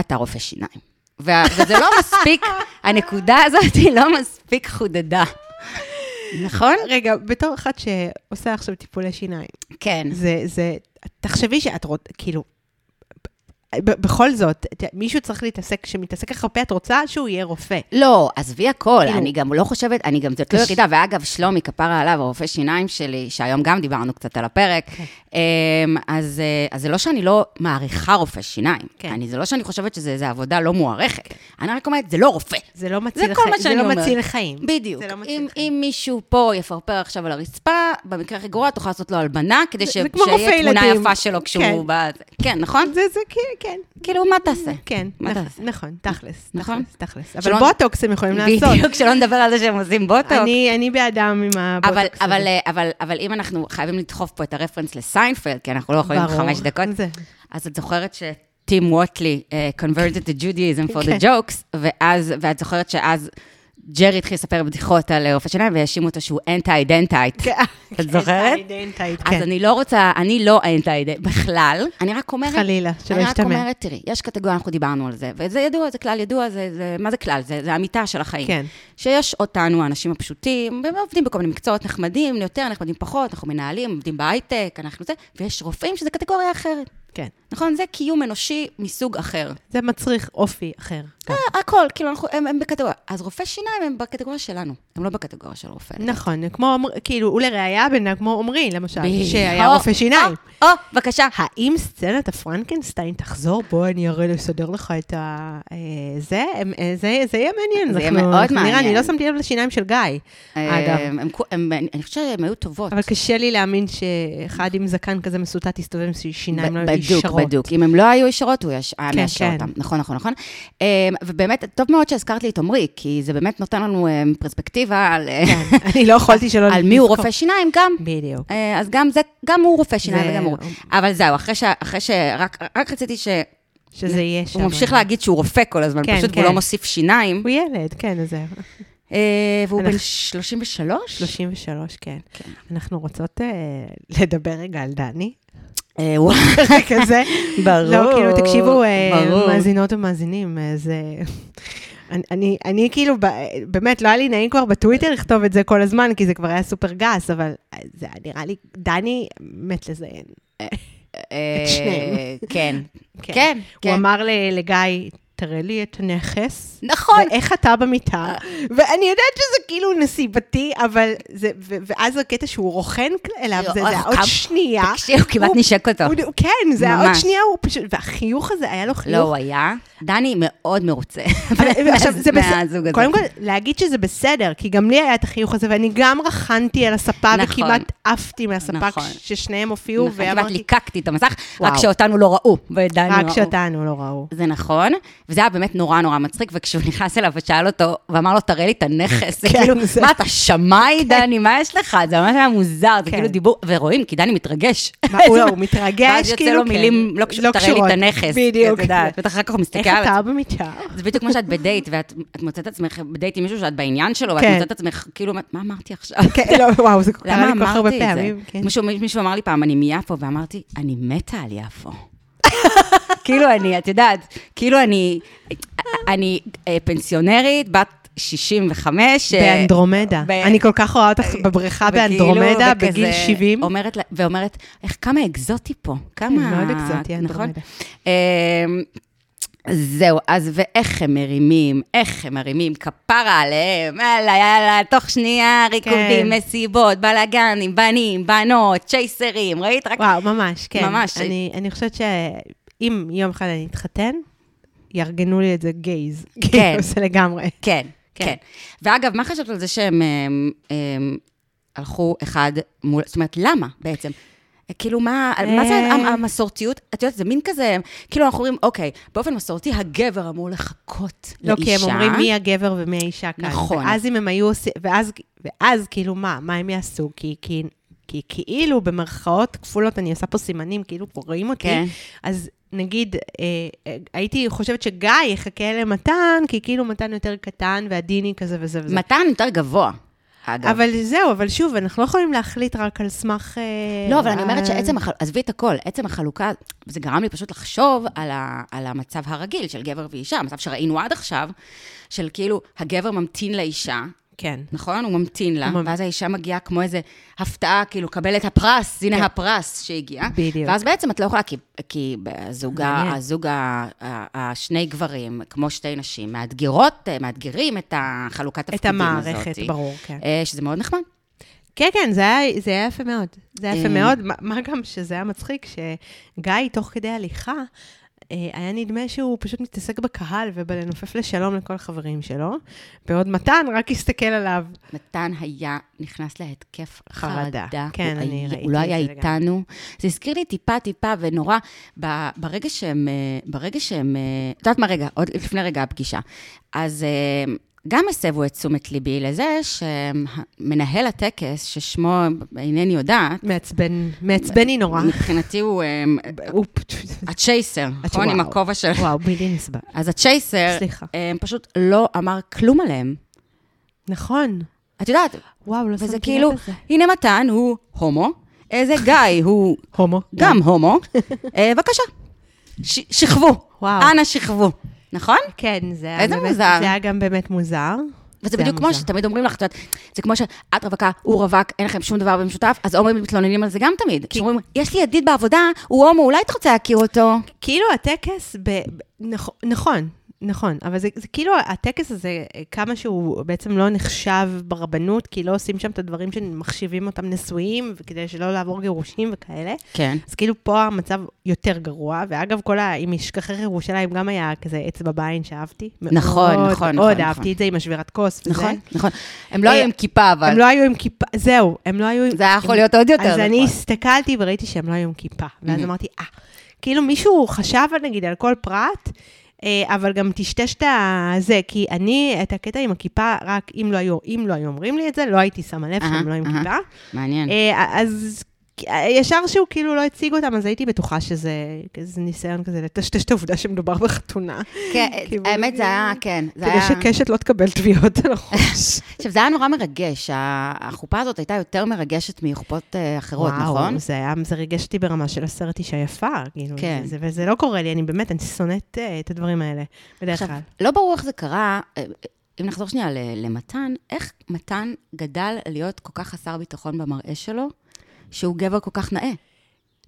A: אתה רופא שיניים. וה- וזה לא מספיק, הנקודה הזאת היא לא מספיק חודדה. נכון?
B: רגע, בתור אחת שעושה עכשיו טיפולי שיניים,
A: כן.
B: זה, זה, תחשבי שאת רוצה, כאילו, ב- בכל זאת, ת- מישהו צריך להתעסק, שמתעסק ככה הרבה, את רוצה שהוא יהיה רופא.
A: לא, עזבי הכל,
B: כאילו-
A: אני גם לא חושבת, אני גם, זאת לא
B: קש-
A: ירידה, ואגב, שלומי, כפרה עליו, הרופא שיניים שלי, שהיום גם דיברנו קצת על הפרק, אמ, אז אה, אז זה לא שאני לא מעריכה רופא שיניים,
B: כן.
A: אני, זה לא שאני חושבת שזה איזה עבודה לא מוערכת, אני רק אומרת, זה לא רופא.
B: זה לא
A: זה
B: מציל,
A: כל
B: חי-
A: מה שאני
B: זה לא
A: אומרת.
B: מציל חיים.
A: בדיוק.
B: זה לא מציל
A: אם,
B: חיים.
A: אם מישהו פה יפרפר עכשיו על הרצפה, במקרה הכי גרוע, תוכל לעשות לו הלבנה, כדי
B: זה-
A: ש...
B: זה כמו רופא
A: שיהיה תמונה
B: ילדים.
A: יפה שלו כשהוא
B: כן.
A: בא... כן, נכון?
B: זה, זה, כאילו, כן.
A: כאילו, מה תעשה?
B: כן,
A: מה
B: נכ-
A: תעשה?
B: נכון, תכלס,
A: נכון?
B: תכלס, תכלס.
A: שלא-
B: אבל בוטוקס הם יכולים כן, לעשות.
A: בדיוק, שלא נדבר על זה שהם עושים בוטוקס.
B: אני אני בעדם עם
A: אבל,
B: הבוטוקס.
A: אבל,
B: הזה.
A: אה, אבל, אבל אם אנחנו חייבים לדחוף פה את הרפרנס לסיינפלד, כי אנחנו לא יכולים
B: ברור.
A: חמש דקות,
B: זה.
A: אז את זוכרת שטים ווטלי uh, converted to Judaism for the
B: כן.
A: jokes, ואז, ואת זוכרת שאז ג'רי התחיל לספר בדיחות על אה, רופא שיניים, והאשימו אותו שהוא אנטי-אידנטייט.
B: כן.
A: כן. את זוכרת?
B: אנטי-דנטייט,
A: אז
B: כן.
A: אני לא רוצה, אני לא אנטי-אידנטייט בכלל, אני רק אומרת...
B: חלילה, שלא
A: אני רק
B: ישתמע.
A: אומרת, תראי, יש קטגוריה, אנחנו דיברנו על זה, וזה ידוע, זה כלל ידוע, זה, זה, מה זה כלל? זה, זה אמיתה של החיים.
B: כן.
A: שיש אותנו, האנשים הפשוטים, והם עובדים בכל מיני מקצועות נחמדים, יותר נחמדים פחות, אנחנו מנהלים, עובדים בהייטק, אנחנו זה, ויש רופאים שזה קטגוריה אחרת.
B: כן.
A: נכון? זה קיום אנושי מסוג אחר.
B: זה מצריך אופי אחר. גם.
A: אה, הכל, כאילו, אנחנו, הם, הם בקטגוריה. אז רופא שיניים הם בקטגוריה שלנו, הם לא בקטגוריה של רופא.
B: נכון, כמו, עומר- כאילו, הוא לראייה בן אדם כמו עומרי, למשל,
A: בדיוק.
B: שהיה רופא שיניים.
A: או, או, בבקשה.
B: האם סצנת הפרנקנשטיין תחזור? בוא, אני הרי לסדר לך את ה... אה, זה, הם- אה, זה, זה יהיה מעניין.
A: זה יהיה
B: אנחנו-
A: מאוד
B: אנחנו נראה,
A: מעניין.
B: אני לא שמתי לב לשיניים של גיא, אגב.
A: אה, הם- הם- הם- אני חושבת שהן היו טובות.
B: אבל קשה לי להאמין שאחד עם זקן כזה מסוטט יסתובב עם שיניים לא
A: ב-
B: ישרות.
A: בדיוק, בדיוק. אם הם לא היו ישרות, הוא יש- היה מאשר
B: כן.
A: אותם. נכון, נכון, נכון. אמ, ובאמת, טוב מאוד שהזכרת לי את עמרי, כי זה באמת נותן לנו אמ, פרספקטיבה על, אה,
B: אני לא יכולתי שלא
A: על מי הוא
B: לזכור.
A: רופא שיניים גם.
B: בדיוק.
A: אה, אז גם זה, גם הוא רופא שיניים
B: זה-
A: וגם הוא. אבל זהו, אחרי ש... אחרי ש... רק רק רציתי ש...
B: שזה יהיה שם.
A: הוא ממשיך להגיד שהוא רופא כל הזמן,
B: כן,
A: פשוט הוא
B: כן.
A: לא מוסיף שיניים.
B: הוא ילד, כן, אז זהו.
A: אה, והוא בן
B: אנחנו-
A: 33?
B: 33, כן. אנחנו רוצות אה, לדבר רגע על דני.
A: אה, וואו,
B: רגע זה.
A: ברור.
B: לא, כאילו, תקשיבו, אה,
A: ברור.
B: מאזינות ומאזינים, אה, זה... אני, אני, אני כאילו, ב- באמת, לא היה לי נעים כבר בטוויטר לכתוב את זה כל הזמן, כי זה כבר היה סופר גס, אבל אה, זה היה נראה לי, דני מת לזיין.
A: אה,
B: שניהם.
A: כן, כן,
B: הוא
A: כן.
B: אמר ל- לגיא, תראה לי את הנכס.
A: נכון.
B: ואיך אתה במיטה, אה, ואני יודעת שזה כאילו נסיבתי, אבל זה, ו- ואז הקטע שהוא רוכן אליו, זה זה
A: אוי,
B: היה עוד
A: אה, כמה-
B: שנייה.
A: תקשיב, הוא כמעט
B: הוא-
A: נשק אותו.
B: הוא- כן, זה היה עוד
A: ממש.
B: שנייה, הוא פשוט, והחיוך הזה, היה לו
A: לא,
B: חיוך
A: הוא היה. דני מאוד מרוצה.
B: אבל- ועכשיו, אה, זה
A: מה-
B: בסדר.
A: מהזוג הזה.
B: קודם כל, להגיד שזה בסדר, כי גם לי היה את החיוך הזה, ואני גם רחנתי על הספה,
A: נכון.
B: וכמעט עפתי מהספה
A: נכון.
B: כש- כששניהם הופיעו,
A: כמעט
B: ואמרתי,
A: ליקקתי את המסך, רק
B: וואו.
A: שאותנו לא ראו, ודני
B: רק
A: ראו.
B: שאותנו לא ראו.
A: זה נכון. וזה היה באמת נורא נורא מצחיק, וכשהוא נכנס אליו ושאל אותו, ואמר לו, תראה לי את הנכס, זה
B: כן,
A: כאילו,
B: זה-
A: מה, אתה שמאי, דני, מה יש לך? זה ממש היה מוזר, זה
B: כן.
A: כאילו דיבור, ורואים, כי דני מתרגש.
B: מה, הוא לא, הוא מתרגש,
A: ואז יוצא
B: כאילו,
A: לו
B: כן.
A: מילים לא קשורות,
B: לא
A: תראה לי
B: קשורות."
A: את הנכס.
B: בדיוק.
A: את יודעת, בטח אחר כך הוא
B: איך
A: מסתכל על
B: אתה במיטה?
A: זה בדיוק כמו שאת בדייט, ואת את מוצאת עצמך בדייט עם מישהו שאת בעניין שלו, ואת
B: כן.
A: מוצאת עצמך, כאילו, אומרת, מה אמרתי עכשיו?
B: כן, לא, וואו, זה קרה
A: למה
B: לי כל כך הרבה
A: אמרתי את זה?
B: פעמים. כן.
A: מישהו- מישהו אמר לי פעם, אני מיפו, ואמרתי, אני מתה על יפו. כאילו אני, את יודעת, כאילו אני, אני אה, פנסיונרית, בת 65. אה,
B: באנדרומדה.
A: ב- אה,
B: אני כל כך רואה אותך בבריכה
A: וכאילו,
B: באנדרומדה,
A: וכזה
B: בגיל 70.
A: אומרת, לה- ואומרת, איך, כמה אקזוטי פה, כמה...
B: כן, מאוד אקזוטי,
A: נכון?
B: אנדרומדה.
A: אמ, זהו, אז ואיך הם מרימים, איך הם מרימים, כפרה עליהם, יאללה, יאללה, תוך שנייה, ריקודים,
B: כן.
A: מסיבות, בלאגנים, בנים, בנות, צ'ייסרים, ראית? רק...
B: וואו, ממש, כן.
A: ממש.
B: אני, אני חושבת שאם יום אחד אני אתחתן, יארגנו לי את זה גייז.
A: כן.
B: כן. זה לגמרי.
A: כן,
B: כן.
A: כן. ואגב, מה חשבת על זה שהם אמ, אמ, הלכו אחד מול, זאת אומרת, למה בעצם? כאילו, מה, מה זה
B: אה.
A: המ- המסורתיות? את יודעת, זה מין כזה, כאילו, אנחנו אומרים, אוקיי, באופן מסורתי, הגבר אמור לחכות
B: לא,
A: לאישה.
B: כי הם אומרים מי הגבר ומי האישה כאן.
A: נכון.
B: ואז אם הם היו עושים, ואז, ואז כאילו מה, מה הם יעשו? כי, כי, כי כאילו במרכאות כפולות, אני עושה פה סימנים, כאילו פה רואים אותי.
A: כן.
B: אז נגיד, אה, אה, הייתי חושבת שגיא יחכה למתן, כי כאילו מתן יותר קטן ועדיני כזה וזה וזה.
A: מתן יותר גבוה, אגב.
B: אבל זהו, אבל שוב, אנחנו לא יכולים להחליט רק על סמך... אה,
A: לא, אבל אני אומרת
B: על-
A: שעצם, הח- עזבי את הכל, עצם החלוקה, זה גרם לי פשוט לחשוב על, ה, על המצב הרגיל של גבר ואישה, המצב שראינו עד עכשיו, של כאילו, הגבר ממתין לאישה,
B: כן.
A: נכון? הוא ממתין לה,
B: הוא ממ-
A: ואז האישה מגיעה כמו איזה הפתעה, כאילו, קבל את הפרס, הנה
B: כן.
A: הפרס שהגיע.
B: בדיוק.
A: ואז בעצם את לא יכולה, כי, כי הזוג, ה-
B: מעניין.
A: הזוג, ה- ה- השני גברים, כמו שתי נשים, מאתגרות, מאתגרים את החלוקת
B: את
A: תפקידים הזאת.
B: המערכת, ברור, כן.
A: אה, שזה מאוד נחמד.
B: כן, כן, זה היה, זה היה יפה מאוד. זה היה יפה
A: אה.
B: מאוד, מה- מה גם שזה היה מצחיק, שגיא, תוך כדי הליכה, אה, היה נדמה שהוא פשוט מתעסק בקהל ובלנופף לשלום לכל החברים שלו, בעוד מתן רק הסתכל עליו.
A: מתן היה נכנס להתקף
B: חרדה.
A: חרדה.
B: כן,
A: הוא
B: אני
A: היה-
B: ראיתי
A: הוא לא
B: את
A: היה
B: זה
A: איתנו. זה הזכיר לי טיפה טיפה, ונורא, ב- ברגע שהם, אה, ברגע שהם, אה, את יודעת מה רגע, עוד לפני רגע הפגישה. אז אה, גם הסבו את תשומת ליבי לזה שמנהל הטקס, ששמו אינני יודעת,
B: מעצבן, מעצבן היא נורא.
A: מבחינתי הוא אה,
B: הוא-
A: הצ'ייסר, נכון? עם
B: וואו.
A: הכובע שלו.
B: וואו, בלתי נסבל.
A: אז הצ'ייסר
B: סליחה.
A: אה, פשוט לא אמר כלום עליהם.
B: נכון.
A: את יודעת,
B: וואו, לא שמתי לב
A: וזה כאילו,
B: לזה.
A: הנה מתן, הוא הומו, איזה גיא, הוא
B: הומו.
A: גם הומו. אה, בבקשה, ש- שכבו.
B: וואו.
A: אנא שכבו, נכון?
B: כן, זה היה
A: איזה
B: באמת-
A: מוזר.
B: זה היה גם באמת מוזר.
A: וזה
B: זה היה
A: בדיוק כמו
B: מוזר.
A: שתמיד אומרים לך, את יודעת, זה כמו שאת רווקה, הוא רווק, אין לכם שום דבר במשותף, אז הומואים מתלוננים על זה גם תמיד. שאומרים, יש לי ידיד בעבודה, הוא הומו, אולי אתה רוצה להכיר אותו?
B: כאילו הטקס, ב... ב- נכון, נכון, נכון, אבל זה, זה כאילו הטקס הזה, כמה שהוא בעצם לא נחשב ברבנות, כי לא עושים שם את הדברים שמחשיבים אותם נשואים, כדי שלא לעבור גירושים וכאלה.
A: כן.
B: אז כאילו פה המצב יותר גרוע, ואגב, כל ה... עם משכחרר ירושלים גם היה כזה עץ בבעין שאהבתי.
A: נכון,
B: מאוד,
A: נכון,
B: מאוד
A: נכון,
B: אהבתי
A: נכון.
B: את זה עם השבירת כוס וזה.
A: נכון, נכון. הם לא
B: אה,
A: היו עם כיפה,
B: הם
A: אבל
B: לא היו עם כיפה, זהו, הם לא היו עם...
A: זה היה יכול להיות עוד יותר.
B: אז אני
A: נכון.
B: הסתכלתי וראיתי שהם לא היו עם כיפה, ואז
A: Mhm.
B: אמרתי, אה, כאילו מישהו חשב על- נגיד על כל פרט, אה, אבל גם טשטש את הזה, כי אני, את הקטע עם הכיפה, רק אם לא היו, אם לא היו אומרים לי את זה, לא הייתי שמה לב
A: אהה,
B: שהם לא עם
A: אהה. כן.
B: כיפה.
A: מעניין.
B: אה, אז אה, ישר שהוא כאילו לא הציג אותם, אז הייתי בטוחה שזה איזה ניסיון כזה לטשטש את העובדה שמדובר בחתונה,
A: כן,
B: כאילו-
A: האמת זה היה, כן. זה
B: כדי
A: היה-
B: שקשת לא תקבל תביעות על החוש.
A: עכשיו, זה היה נורא מרגש. ה- החופה הזאת הייתה יותר מרגשת מחופות אה, אחרות, נכון?
B: וואו, זה היה, זה ריגש אותי ברמה של הסרט אישה יפה, כאילו,
A: כן.
B: זה, וזה לא קורה לי, אני באמת, אני שונאת אה, את הדברים האלה, בדרך
A: עכשיו,
B: כלל.
A: לא ברור איך זה קרה, אה, אה, אם נחזור שנייה ל- למתן, איך מתן גדל להיות כל כך חסר ביטחון במראה שלו, שהוא גבר כל כך נאה?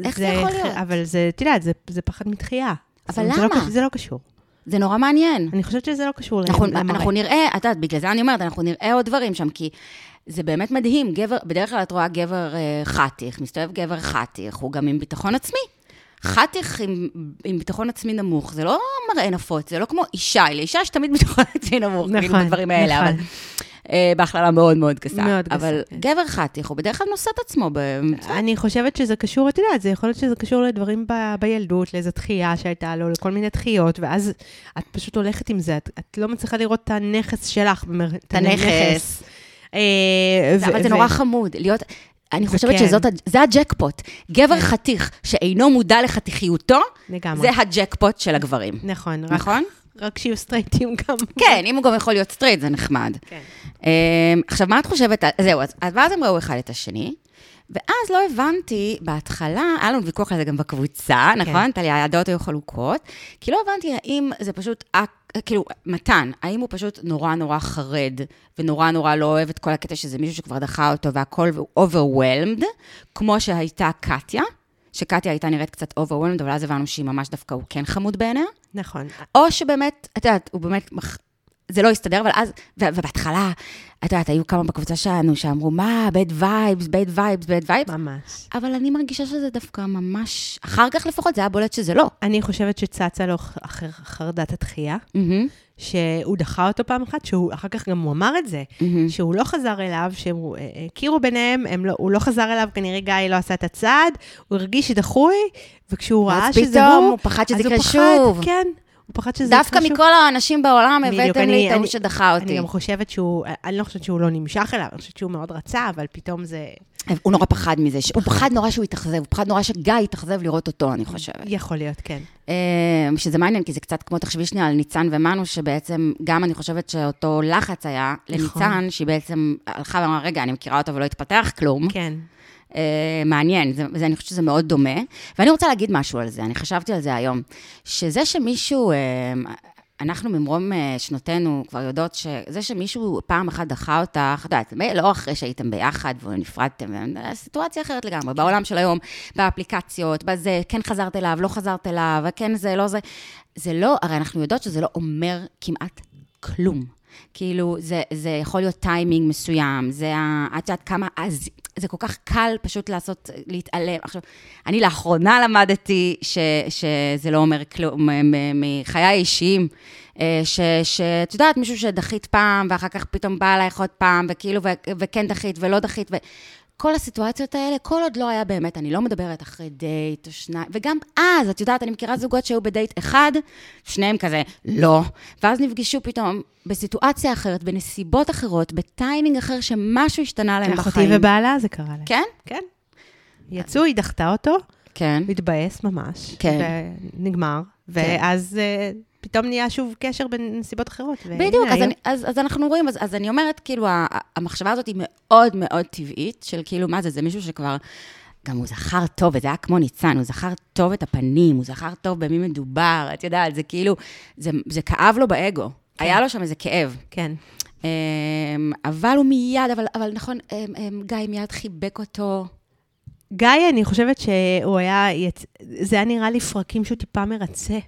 A: איך זה יכול להיות?
B: אבל זה, את יודעת, זה, זה פחד מתחייה. זאת אומרת,
A: למה?
B: זה לא, קש- זה לא קשור.
A: זה נורא מעניין.
B: אני חושבת שזה לא קשור
A: אנחנו,
B: למראה.
A: נכון, אנחנו נראה, את יודעת, בגלל זה אני אומרת, אנחנו נראה עוד דברים שם, כי זה באמת מדהים. גבר, בדרך כלל את רואה גבר אה, חתיך, מסתובב גבר חתיך, הוא גם עם ביטחון עצמי. חתיך עם, עם ביטחון עצמי נמוך, זה לא מראה נפוץ, זה לא כמו אישה, לאישה יש תמיד ביטחון עצמי נמוך, כאילו
B: נכון,
A: בדברים האלה,
B: נכון.
A: אבל אה, בהכללה מאוד מאוד גסה.
B: מאוד גסה,
A: אבל
B: כן.
A: גבר חתיך, הוא בדרך כלל נושא את עצמו ב...
B: אני חושבת שזה קשור, את יודעת, זה יכול להיות שזה קשור לדברים ב- בילדות, לאיזו דחייה שהייתה לו, לכל מיני דחיות, ואז את פשוט הולכת עם זה, את, את לא מצליחה לראות את הנכס שלך, במר-
A: את הנכס.
B: אה,
A: אבל
B: ו-
A: זה
B: ו-
A: נורא חמוד, להיות... אני חושבת
B: וכן.
A: שזאת, ה- זה הג'קפוט.
B: כן.
A: גבר חתיך שאינו מודע לחתיכיותו,
B: לגמרי.
A: זה הג'קפוט של הגברים.
B: נכון, רק-
A: נכון?
B: רק שיהיו סטרייטים גם.
A: כן, אם הוא גם יכול להיות סטרייט, זה נחמד.
B: כן.
A: אמ, עכשיו, מה את חושבת? על- זהו, אז אז ואז הם ראו אחד את השני, ואז לא הבנתי, בהתחלה, היה לנו ויכוח על זה גם בקבוצה, נכון? טליה, הדעות היו חלוקות, כי לא הבנתי האם זה פשוט, אק- כאילו, מתן, האם הוא פשוט נורא נורא חרד, ונורא נורא לא אוהב את כל הקטע שזה מישהו שכבר דחה אותו, והכל overwhelmed, כמו שהייתה קטיה, שקטיה הייתה נראית קצת overwhelmed, אבל אז הבנו שהיא ממש דווקא, הוא כן חמוד בעיניה.
B: נכון.
A: או שבאמת, את יודעת, הוא באמת, מח- זה לא הסתדר, אבל אז, ו- ובהתחלה, את יודעת, היו כמה בקבוצה שלנו שאמרו, מה, bad vibes, bad vibes, bad vibes,
B: ממש.
A: אבל אני מרגישה שזה דווקא ממש, אחר כך לפחות זה היה בולט שזה לא.
B: אני חושבת שצצה לו ח- אחר חרדת התחייה,
A: מהמם,
B: שהוא דחה אותו פעם אחת, שהוא אחר כך גם הוא אמר את זה,
A: מהמם.
B: שהוא לא חזר אליו, שהם אה, הכירו ביניהם, הם לא, הוא לא חזר אליו, כנראה גיא לא עשה את הצעד, הוא הרגיש דחוי, וכשהוא ראה
A: ואז
B: שזה
A: פתאום
B: הוא,
A: הוא פחד שזה
B: אז הוא
A: יקרה
B: פחד,
A: שוב.
B: כן, הוא פחד שזה
A: דווקא
B: יקרה שוב.
A: מכל האנשים בעולם
B: בדיוק,
A: הבאתם
B: אני-
A: לי את ההוא
B: אני-
A: שדחה
B: אני
A: אותי.
B: גם חושבת שהוא, אני לא חושבת שהוא לא נמשך אליו, אני חושבת שהוא מאוד רצה, אבל פתאום זה
A: הוא נורא פחד מזה, ש- הוא פחד נורא שהוא יתאכזב, הוא פחד נורא שגיא יתאכזב לראות אותו, אני חושבת.
B: יכול להיות, כן.
A: אה, שזה מעניין, כי זה קצת כמו, תחשבי שנייה על ניצן ומנו, שבעצם, גם אני חושבת שאותו לחץ היה לניצן, שהיא בעצם הלכה ואמרה, רגע, אני מכירה אותו ולא התפתח כלום.
B: כן.
A: אה, מעניין, זה, זה, אני חושבת שזה מאוד דומה. ואני רוצה להגיד משהו על זה, אני חשבתי על זה היום. שזה שמישהו, אה, אנחנו ממרום אה, שנותינו כבר יודעות שזה שמישהו פעם אחת דחה אותך, את יודעת, לא אחרי שהייתם ביחד ונפרדתם, אה, סיטואציה אחרת לגמרי, בעולם של היום, באפליקציות, בזה, כן חזרת אליו, לא חזרת אליו, כן זה, לא זה. זה לא, הרי אנחנו יודעות שזה לא אומר כמעט כלום. כאילו, זה, זה יכול להיות טיימינג מסוים, זה ה... את יודעת כמה... אז זה כל כך קל פשוט לעשות, להתעלם. עכשיו, אני לאחרונה למדתי ש, שזה לא אומר כלום מ- מ- מחיי האישיים, אה, ש- שאת יודעת, מישהו שדחית פעם, ואחר כך פתאום בא אלייך עוד פעם, וכאילו, ו, וכן דחית ולא דחית, ו... כל הסיטואציות האלה, כל עוד לא היה באמת, אני לא מדברת אחרי דייט או שניים, וגם אז, את יודעת, אני מכירה זוגות שהיו בדייט אחד, שניהם כזה, לא, ואז נפגשו פתאום בסיטואציה אחרת, בנסיבות אחרות, בטיימינג אחר, שמשהו השתנה להם
B: אחותי
A: בחיים.
B: ובעלה זה קרה להם.
A: כן?
B: כן. יצאו, היא דחתה אותו,
A: כן.
B: הוא התבאס ממש.
A: כן.
B: ונגמר. ואז אה, פתאום נהיה שוב קשר בנסיבות אחרות. והנה,
A: בדיוק, אז,
B: אה, היום-
A: אני, אז, אז אנחנו רואים, אז, אז אני אומרת, כאילו, ה- ה- המחשבה הזאת היא מאוד מאוד טבעית, של כאילו, מה זה, זה מישהו שכבר, גם הוא זכר טוב, וזה היה כמו ניצן, הוא זכר טוב את הפנים, הוא זכר טוב במי מדובר, את יודעת, זה כאילו, זה, זה כאב לו באגו, כן. היה לו שם איזה כאב.
B: כן.
A: אמ, אבל הוא מיד, אבל, אבל נכון, אמ, אמ, גיא מיד חיבק אותו.
B: גיא, אני חושבת שהוא היה, יצ... זה היה נראה לי פרקים שהוא טיפה מרצה.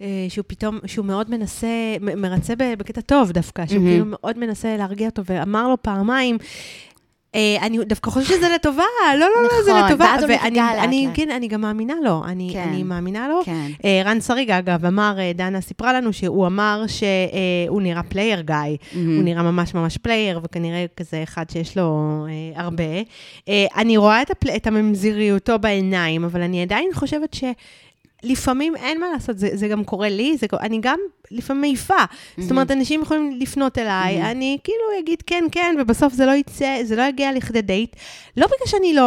B: אה, שהוא פתאום, שהוא מאוד מנסה, מ- מרצה ב- בקטע טוב דווקא, שהוא
A: מהמם.
B: כאילו מאוד מנסה להרגיע אותו, ואמר לו פעמיים, אה, אני דווקא חושבת שזה לטובה, לא, לא, לא, זה
A: נכון,
B: לטובה.
A: ואז הוא
B: ואני-
A: נרגע לאט
B: אני-
A: לאט.
B: כן, אני גם מאמינה לו, אני,
A: כן.
B: אני מאמינה לו.
A: כן.
B: אה, רן שריג, אגב, אמר, אה, דנה סיפרה לנו שהוא אמר שהוא נראה פלייר גיא. הוא
A: Mm-hmm.
B: נראה ממש ממש פלייר, וכנראה כזה אחד שיש לו אה, הרבה. אה, אני רואה את, הפל... את הממזיריותו בעיניים, אבל אני עדיין חושבת ש... לפעמים אין מה לעשות, זה, זה גם קורה לי, זה, קורה- אני גם לפעמים מעיפה. Mm-hmm. זאת אומרת, אנשים יכולים לפנות אליי, mm-hmm. אני כאילו אגיד כן, כן, ובסוף זה לא יצא, זה לא יגיע לכדי דייט. לא בגלל שאני לא,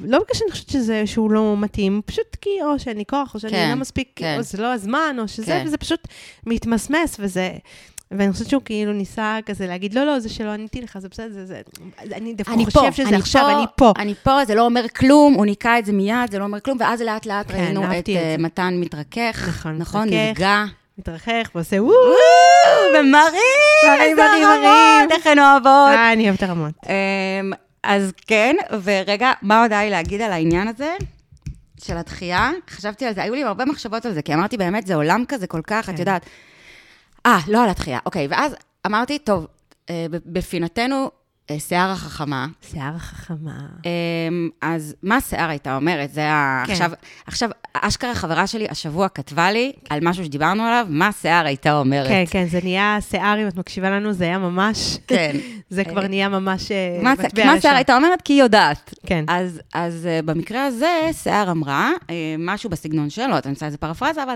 B: לא בגלל שאני חושבת שזה, שהוא לא מתאים, פשוט כי או שאין לי כוח, או שאני
A: כן,
B: לא מספיק,
A: כן.
B: או זה לא הזמן, או שזה,
A: כן.
B: וזה פשוט מתמסמס, וזה... ואני חושבת שהוא כאילו ניסה כזה להגיד, לא, לא, זה שלא עניתי לך, זה בסדר, זה... זה אני דווקא
A: אני
B: חושב
A: פה,
B: שזה
A: אני
B: עכשיו,
A: פה,
B: אני פה.
A: אני פה, זה לא אומר כלום, הוא ניקה את זה מיד, זה לא אומר כלום, ואז לאט לאט
B: כן,
A: ראינו
B: אהבתי
A: את
B: את
A: אה,
B: זה.
A: מתן מתרכך.
B: נכון,
A: נכון,
B: מתרכך.
A: נרגע.
B: מתרחך ועושה וואו,
A: ומרים,
B: מרים,
A: איזה
B: מרים,
A: הרמות,
B: מרים.
A: איך הן אוהבות.
B: אה, אני אוהבת הרמות.
A: אמ, אז כן, ורגע, מה עוד היה לי להגיד על העניין הזה? של הדחייה, חשבתי על זה, היו לי הרבה מחשבות על זה, כי אמרתי, באמת, זה עולם כזה כל כך, את
B: כן.
A: יודעת. אה, לא על הדחייה, אוקיי, ואז אמרתי, טוב, אה, ב- בפינתנו, אה, שיער החכמה.
B: שיער החכמה.
A: אמ, אז מה שיער הייתה אומרת? זה ה...
B: כן.
A: עכשיו, עכשיו, אשכרה חברה שלי השבוע כתבה לי על משהו שדיברנו עליו, מה שיער הייתה אומרת.
B: כן, כן, זה נהיה שיער, אם את מקשיבה לנו, זה היה ממש...
A: כן.
B: זה כבר נהיה ממש... אה,
A: מה,
B: מטבע
A: ש- מה
B: לשון.
A: שיער הייתה אומרת? כי היא יודעת.
B: כן.
A: אז, אז אה, במקרה הזה, שיער אמרה אה, משהו בסגנון שלו, אתה נמצא איזה פרפרזה, אבל...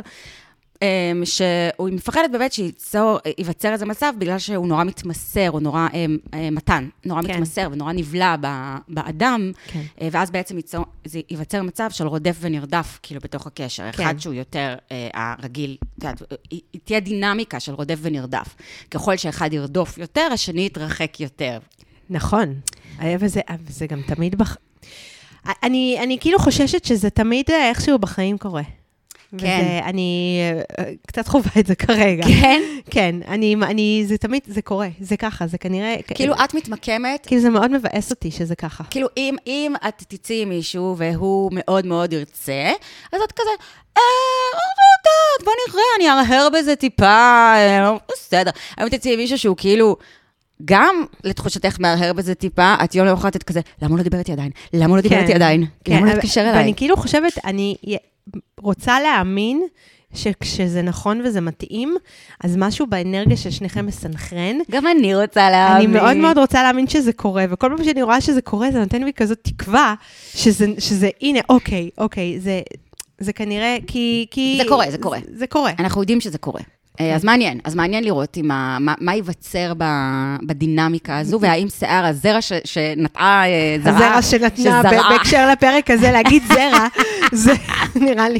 A: אה, שהוא מפחדת באמת שייצור- ייווצר איזה מצב בגלל שהוא נורא מתמסר, הוא נורא אה, אה, מתן, נורא
B: כן.
A: מתמסר ונורא נבלע ב- באדם,
B: כן.
A: אה, ואז בעצם ייצור- זה ייווצר מצב של רודף ונרדף, כאילו, בתוך הקשר.
B: כן.
A: אחד שהוא יותר אה, הרגיל, את יודעת, היא- היא תהיה דינמיקה של רודף ונרדף. ככל שאחד ירדוף יותר, השני יתרחק יותר.
B: נכון. אה, וזה, אה, וזה גם תמיד בח... אני, אני כאילו חוששת שזה תמיד אה, איכשהו בחיים קורה. וזה, אני אה, אה, קצת חווה את זה כרגע.
A: כן?
B: כן, אני, אני, זה תמיד, זה קורה, זה ככה, זה כנראה...
A: כאילו, את מתמקמת,
B: כאילו זה מאוד מבאס אותי שזה ככה.
A: כאילו, אם, אם את תצאי עם מישהו והוא מאוד מאוד ירצה, אז את כזה, אה, לא יודעת, בוא נראה, אני ארהר בזה טיפה, אה, בסדר. אם תצאי עם מישהו שהוא כאילו... גם לתחושתך מהרהר בזה טיפה, את יום למחרת את כזה, למה הוא לא דיבר איתי עדיין? למה הוא לא דיבר
B: כן.
A: איתי עדיין? למה הוא לא
B: אבל-
A: התקשר אליי?
B: ואני כאילו חושבת, אני י- רוצה להאמין שכשזה נכון וזה מתאים, אז משהו באנרגיה של שניכם מסנכרן.
A: גם אני רוצה
B: אני
A: להאמין.
B: מאוד מאוד רוצה להאמין שזה קורה, וכל פעם שאני רואה שזה קורה, זה נותן לי כזאת תקווה שזה, שזה הנה, אוקיי, אוקיי, זה, זה כנראה, כי... כי
A: זה קורה, זה קורה.
B: זה, זה קורה.
A: אנחנו יודעים שזה קורה.
B: כן.
A: אה, אז מעניין, אז מעניין לראות עם ה, מה, מה ייווצר ב, בדינמיקה הזו, והאם שיער הזרע ש, שנטעה אה, זרעה,
B: הזרע שנתנה
A: שזרעה.
B: ב- בהקשר לפרק הזה, להגיד זרע, זה נראה לי.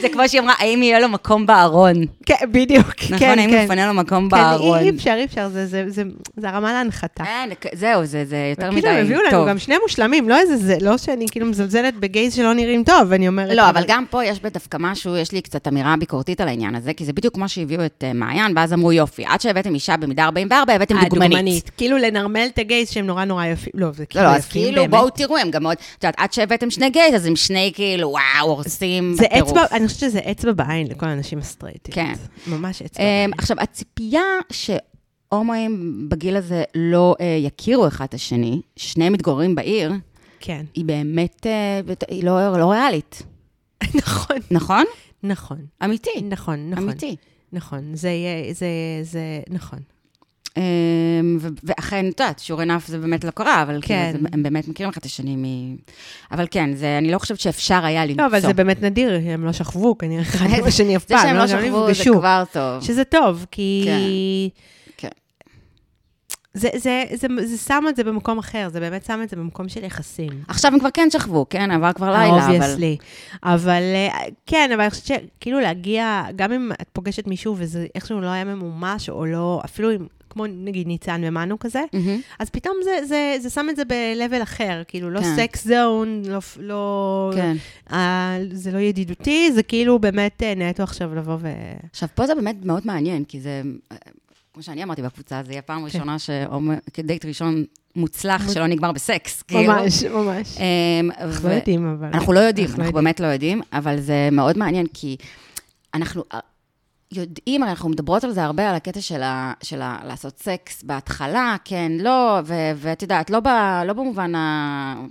A: זה כמו שהיא אמרה, האם יהיה לו מקום בארון?
B: כן, בדיוק, כן, כן.
A: נכון, האם יפנה לו מקום בארון?
B: כן, אי- אי אפשר, אי אפשר, זה- זה- זה- זה הרמה להנחתה.
A: אין, זהו, זה, זה יותר מדי
B: כאילו,
A: טוב.
B: הם הביאו לנו גם שני מושלמים, לא איזה זה, לא שאני כאילו מזלזלת בגייז שלא נראים טוב, אני אומרת...
A: לא, אבל גם פה יש דווקא משהו, יש לי קצת אמירה ביקורתית על העניין הזה, כי זה בדיוק כמו שהביאו את אה, מעיין, ואז אמרו, יופי, עד שהבאתם אישה במידה 44, הבאתם אה, דוגמנית.
B: כאילו לנרמל את הגייז שהם נורא נורא יפים. לא, זה
A: לא,
B: כאילו
A: לא,
B: יפים
A: אז כאילו,
B: באמת.
A: בואו תראו, הם גם מאוד, את יודעת, עד שהבאתם שני גייז, אז הם שני כאילו, וואו, הורסים
B: זה
A: בטירוף.
B: אצבע, אני חושבת שזה אצבע בעין לכל האנשים הסטרייטים.
A: כן.
B: ממש אצבע בעין.
A: אמ, עכשיו, הציפייה שהומואים בגיל הזה לא אה, יכירו אחד את השני, שניהם מתגוררים בעיר,
B: כן.
A: היא באמת, אה, בת- היא לא לא ריאלית,
B: נכון.
A: נכון?
B: נכון.
A: אמיתי.
B: נכון, נכון.
A: אמיתי.
B: נכון. זה יהיה, זה, זה, נכון.
A: אמ, ו- ואכן, את יודעת, sure enough זה באמת לא קרה, אבל
B: כן.
A: כן, הם באמת מכירים אחד את השני מ... אבל כן, זה, אני לא חושבת שאפשר היה למצוא.
B: לא, אבל זה באמת נדיר, הם לא שכבו כנראה אחד עם השני אף
A: זה
B: פעם.
A: שהם לא
B: גם
A: שכבו, זה
B: נפגשו.
A: כבר טוב.
B: שזה טוב, כי...
A: כן.
B: זה, זה, זה, זה שם את זה במקום אחר, זה באמת שם את זה במקום של יחסים.
A: עכשיו הם כבר כן שכבו, כן, עבר כבר לילה, אבל...
B: אובייסלי. אבל אה, כן, אבל אני חושבת שכאילו להגיע, גם אם את פוגשת מישהו וזה איכשהו לא היה ממומש, או לא, אפילו אם, כמו נגיד ניצן ומנו כזה,
A: מהמם.
B: אז פתאום זה, זה, זה שם את זה ב-level אחר, כאילו לא
A: כן.
B: סקס זון, לא... פ- לא
A: כן.
B: אה, זה לא ידידותי, זה כאילו באמת אה, נטו עכשיו לבוא ו...
A: עכשיו, פה זה באמת מאוד מעניין, כי זה, אה, כמו שאני אמרתי בקבוצה, זה יהיה
B: כן.
A: פעם ראשונה שדייט ראשון מוצלח שלא נגמר בסקס, כאילו.
B: ממש, ממש.
A: אמ, ו-
B: אנחנו אה, לא יודעים, אבל...
A: אנחנו לא יודעים,
B: אנחנו לא
A: אנחנו באמת לא יודעים, אבל זה מאוד מעניין, כי אנחנו אה, יודעים, הרי אנחנו מדברות על זה הרבה, על הקטע של ה- של ה- לעשות סקס בהתחלה, כן, לא, ו- ואת יודעת, לא ב- לא במובן ה...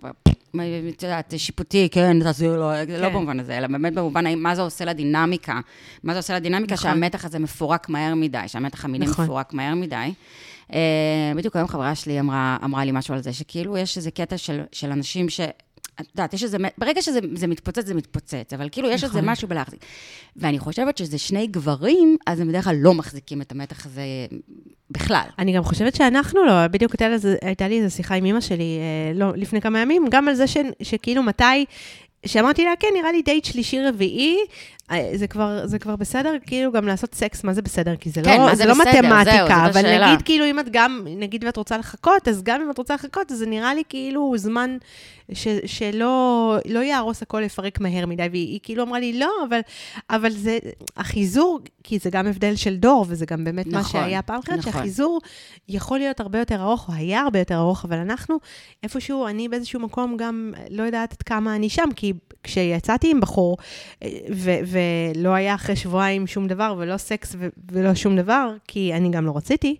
A: מה, את יודעת, שיפוטי, כן, תעשי לו, זה לא
B: כן.
A: במובן הזה, אלא באמת במובן האם- מה זה עושה לדינמיקה. מה זה עושה לדינמיקה,
B: נכון.
A: שהמתח הזה מפורק מהר מדי, שהמתח המיני
B: נכון.
A: מפורק מהר מדי. Uh, בדיוק היום חברה שלי אמרה, אמרה לי משהו על זה, שכאילו יש איזה קטע של, של אנשים ש... את יודעת, יש איזה... ברגע שזה זה מתפוצץ, זה מתפוצץ, אבל כאילו יש איזה
B: נכון.
A: משהו בלהחזיק. ואני חושבת שזה שני גברים, אז הם בדרך כלל לא מחזיקים את המתח הזה בכלל.
B: אני גם חושבת שאנחנו לא, בדיוק הייתה, לזה, הייתה לי איזו שיחה עם אימא שלי אה, לא, לפני כמה ימים, גם על זה ש, שכאילו מתי, שאמרתי לה, כן, נראה לי דייט שלישי-רביעי, אה, זה כבר, זה כבר בסדר, כאילו גם לעשות סקס, מה זה בסדר? כי זה
A: כן,
B: לא,
A: מה
B: זה
A: זה
B: לא
A: בסדר? זהו,
B: מתמטיקה,
A: זאת
B: אבל
A: השאלה.
B: נגיד כאילו אם את גם, נגיד ואת רוצה לחכות, אז גם אם את רוצה לחכות, אז זה נראה לי כאילו זמן ש, שלא לא יהרוס הכל לפרק מהר מדי, והיא היא כאילו אמרה לי, לא, אבל, אבל זה, החיזור, כי זה גם הבדל של דור, וזה גם באמת מה
A: נכון,
B: שהיה פעם אחרת,
A: נכון.
B: שהחיזור... הפיזור יכול להיות הרבה יותר ארוך, או היה הרבה יותר ארוך, אבל אנחנו איפשהו, אני באיזשהו מקום גם לא יודעת עד כמה אני שם, כי כשיצאתי עם בחור, אה, ו- ולא היה אחרי שבועיים שום דבר, ולא סקס ו- ולא שום דבר, כי אני גם לא רציתי,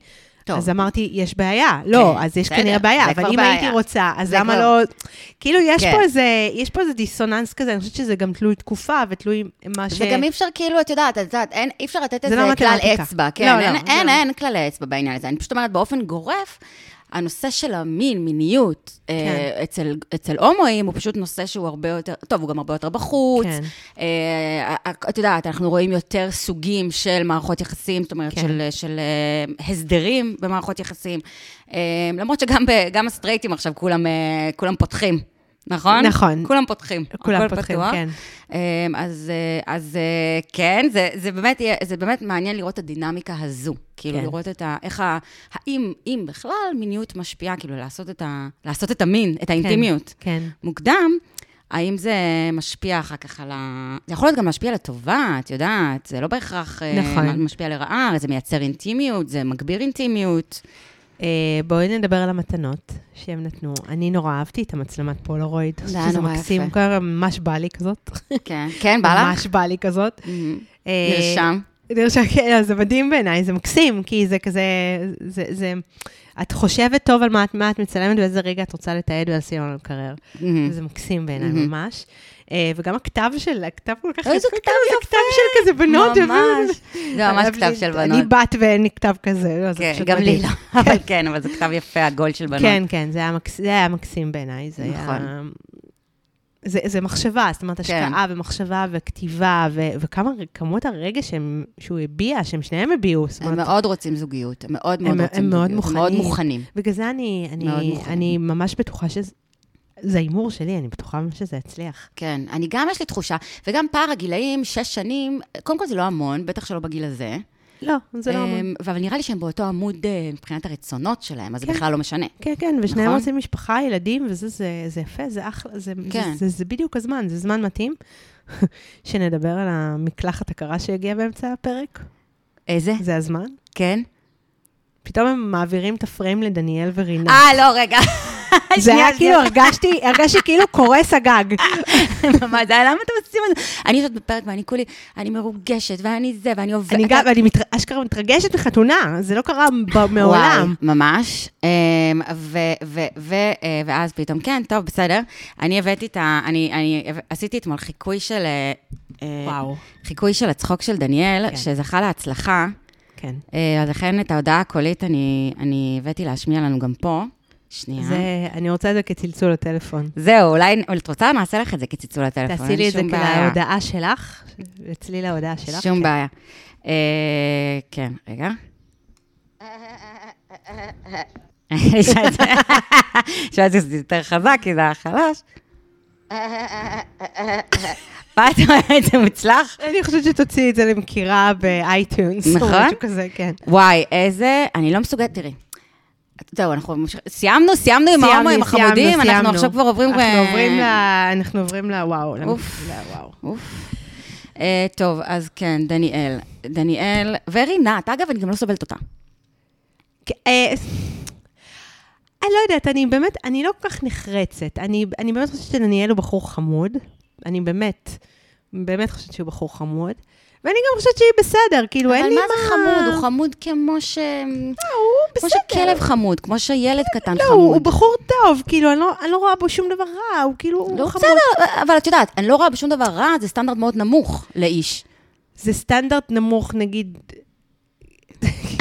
A: טוב. כן,
B: אז אמרתי, יש בעיה. לא, אז יש
A: בסדר,
B: כנראה בעיה,
A: זה
B: אבל
A: כבר
B: אם
A: בעיה.
B: הייתי רוצה, אז
A: זה
B: למה
A: כבר-
B: לא... כאילו, יש
A: כן.
B: פה איזה- יש פה איזה דיסוננס כזה, אני חושבת שזה גם תלוי תקופה ותלוי מה ש...
A: וגם אי אפשר, כאילו, את יודעת, את יודעת, אין- אי אפשר לתת
B: אה, זה
A: איזה
B: לא
A: כלל
B: מתמטיקה.
A: אצבע. כן,
B: לא, לא,
A: אין-
B: זה
A: אין,
B: לא.
A: אין כללי אצבע בעניין הזה. אני פשוט אומרת, באופן גורף, הנושא של המין, מיניות, אה,
B: כן.
A: אצל- אצל הומואים, הוא פשוט נושא שהוא הרבה יותר, טוב, הוא גם הרבה יותר בחוץ.
B: כן.
A: אה, ה- את יודעת, אנחנו רואים יותר סוגים של מערכות יחסים, זאת אומרת,
B: כן.
A: של, של אה, הסדרים במערכות יחסים. אה, למרות שגם ב- גם הסטרייטים עכשיו כולם, אה, כולם פותחים, נכון?
B: נכון.
A: כולם פותחים.
B: כולם
A: הכל
B: פותחים,
A: פתוח.
B: כן.
A: אמ, אז, אה, אז אה, כן, זה, זה, באמת, יהיה- זה באמת מעניין לראות את הדינמיקה הזו. כאילו,
B: כן.
A: כן. לראות את ה... איך ה... האם, אם בכלל מיניות משפיעה, כאילו, לעשות את, ה, לעשות את המין, את האינטימיות.
B: כן.
A: מוקדם, האם זה משפיע אחר כך על ה... זה יכול להיות גם להשפיע לטובה, את יודעת, זה לא בהכרח אה,
B: נכון.
A: משפיע לרעה, זה מייצר אינטימיות, זה מגביר אינטימיות.
B: אה, בואי נדבר על המתנות שהם נתנו. אני נורא אהבתי את המצלמת פולרויד.
A: זה היה
B: שזה
A: נורא
B: מקסים,
A: יפה.
B: ככה ממש בא לי כזאת.
A: כן, כן, בא לך?
B: ממש בא לי כזאת.
A: אמ,
B: אה,
A: נרשם.
B: נרשם, כן, אז זה מדהים בעיניי, זה מקסים, כי זה כזה, זה, זה, את חושבת טוב על מה, את- מה את מצלמת ואיזה רגע את רוצה לתעד ולשים על המקרר.
A: אמ.
B: זה מקסים בעיניי
A: מהמם.
B: ממש. אה, וגם הכתב של, הכתב כל כך
A: איזה כתב
B: זה כתב של כזה בנות.
A: ממש. זה ממש
B: אהבתי
A: כתב
B: את-
A: של
B: אני
A: בנות.
B: בת ואין לי כתב כזה, לא, זה
A: כן,
B: פשוט
A: גם לי
B: מדהים.
A: לא, אבל כן, אבל זה כתב יפה, הגול של בנות.
B: כן, כן, זה היה, מקס... זה היה מקסים בעיניי. זה היה...
A: נכון. כן.
B: זה, זה מחשבה, זאת אומרת, השקעה ומחשבה וכתיבה, ו, וכמה כמות הרגע שהם, שהוא הביע, שהם שניהם הביעו, זאת
A: הם
B: אומרת,
A: מאוד רוצים זוגיות, הם מאוד מאוד
B: הם-
A: רוצים
B: הם מאוד
A: זוגיות. הם מאוד
B: מוכנים.
A: מוכנים.
B: בגלל זה אני,
A: מאוד
B: אני,
A: מוכנים.
B: אני ממש בטוחה שזה... זה ההימור שלי, אני בטוחה שזה יצליח.
A: כן, אני גם, יש לי תחושה, וגם פער הגילאים, שש שנים, קודם כל זה לא המון, בטח שלא בגיל הזה.
B: לא, זה לא אמור.
A: אמ, אבל נראה לי שהם באותו עמוד אה, מבחינת הרצונות שלהם, אז זה
B: כן.
A: בכלל לא משנה.
B: כן, כן, ושניהם
A: נכון.
B: רוצים משפחה, ילדים, וזה זה, זה יפה, זה אחלה, זה,
A: כן.
B: זה, זה, זה בדיוק הזמן, זה זמן מתאים. שנדבר על המקלחת הקרה שהגיעה באמצע הפרק,
A: איזה?
B: זה הזמן.
A: כן?
B: פתאום הם מעבירים את הפריים לדניאל ורינה.
A: אה, לא, רגע.
B: זה
A: אה, שנייה,
B: היה כאילו, הרגשתי, הרגשתי כאילו קורס הגג.
A: מה זה היה? למה אתם עושים את זה? אני יושבת בפרק ואני כולי, אני מרוגשת, ואני זה, ואני עובדת.
B: אני גם, אני מת- אשכרה מתרגשת מחתונה, זה לא קרה ב- מעולם.
A: וואי, ממש. אמ, ו, ו, ו, אה, ואז פתאום, כן, טוב, בסדר. אני הבאתי את ה... אני, אני הבא- עשיתי אתמול חיקוי של... אה, אה,
B: וואו.
A: חיקוי של הצחוק של דניאל,
B: כן.
A: שזכה להצלחה.
B: כן.
A: אה, אז לכן את ההודעה הקולית אני, אני הבאתי להשמיע לנו גם פה. שנייה. זה...
B: זה, אני רוצה את זה כצלצול לטלפון.
A: זהו, אולי, אולי את רוצה? נעשה לך את זה כציצול לטלפון.
B: תעשי לי
A: אין
B: את זה
A: שום בעיה.
B: כהודעה שלך, אצלי להודעה שלך.
A: שום
B: כן.
A: בעיה. אה, כן, רגע. שאלתי שזה יותר חזק, כי זה היה חלש. מה את אומרת, זה מוצלח?
B: אני חושבת שתוציאי את זה למכירה באייטיונס. או
A: נכון.
B: משהו כזה, כן.
A: וואי, איזה... אני לא מסוגלת, תראי. זהו, אנחנו ממשיכים- סיימנו, סיימנו עם
B: סיימנו,
A: ההומואים
B: סיימנו,
A: החמודים,
B: סיימנו.
A: אנחנו עכשיו כבר עוברים... אה,
B: אנחנו
A: ב-
B: עוברים ל- אנחנו עוברים לוואו. למ-
A: אוף.
B: לוואו.
A: אוף. אה, טוב, אז כן, דניאל. דניאל ורינת, אגב, אני גם לא סובלת אותה.
B: אה, אני לא יודעת, אני באמת, אני לא כל כך נחרצת. אני, אני באמת חושבת שדניאל הוא בחור חמוד. אני באמת, באמת חושבת שהוא בחור חמוד. ואני גם חושבת שהיא בסדר, כאילו, אין לי מה...
A: אבל מה זה חמוד? הוא חמוד כמו ש...
B: לא, הוא
A: כמו
B: בסדר.
A: שכלב חמוד, כמו שילד קטן
B: לא, הוא, הוא
A: חמוד.
B: בחור טוב, כאילו, אני לא, אני לא רואה בו שום דבר רע, הוא כאילו, הוא
A: לא,
B: חמוד.
A: בסדר, אבל את יודעת, אני לא רואה בשום דבר רע, זה סטנדרט מאוד נמוך לאיש.
B: זה סטנדרט נמוך, נגיד...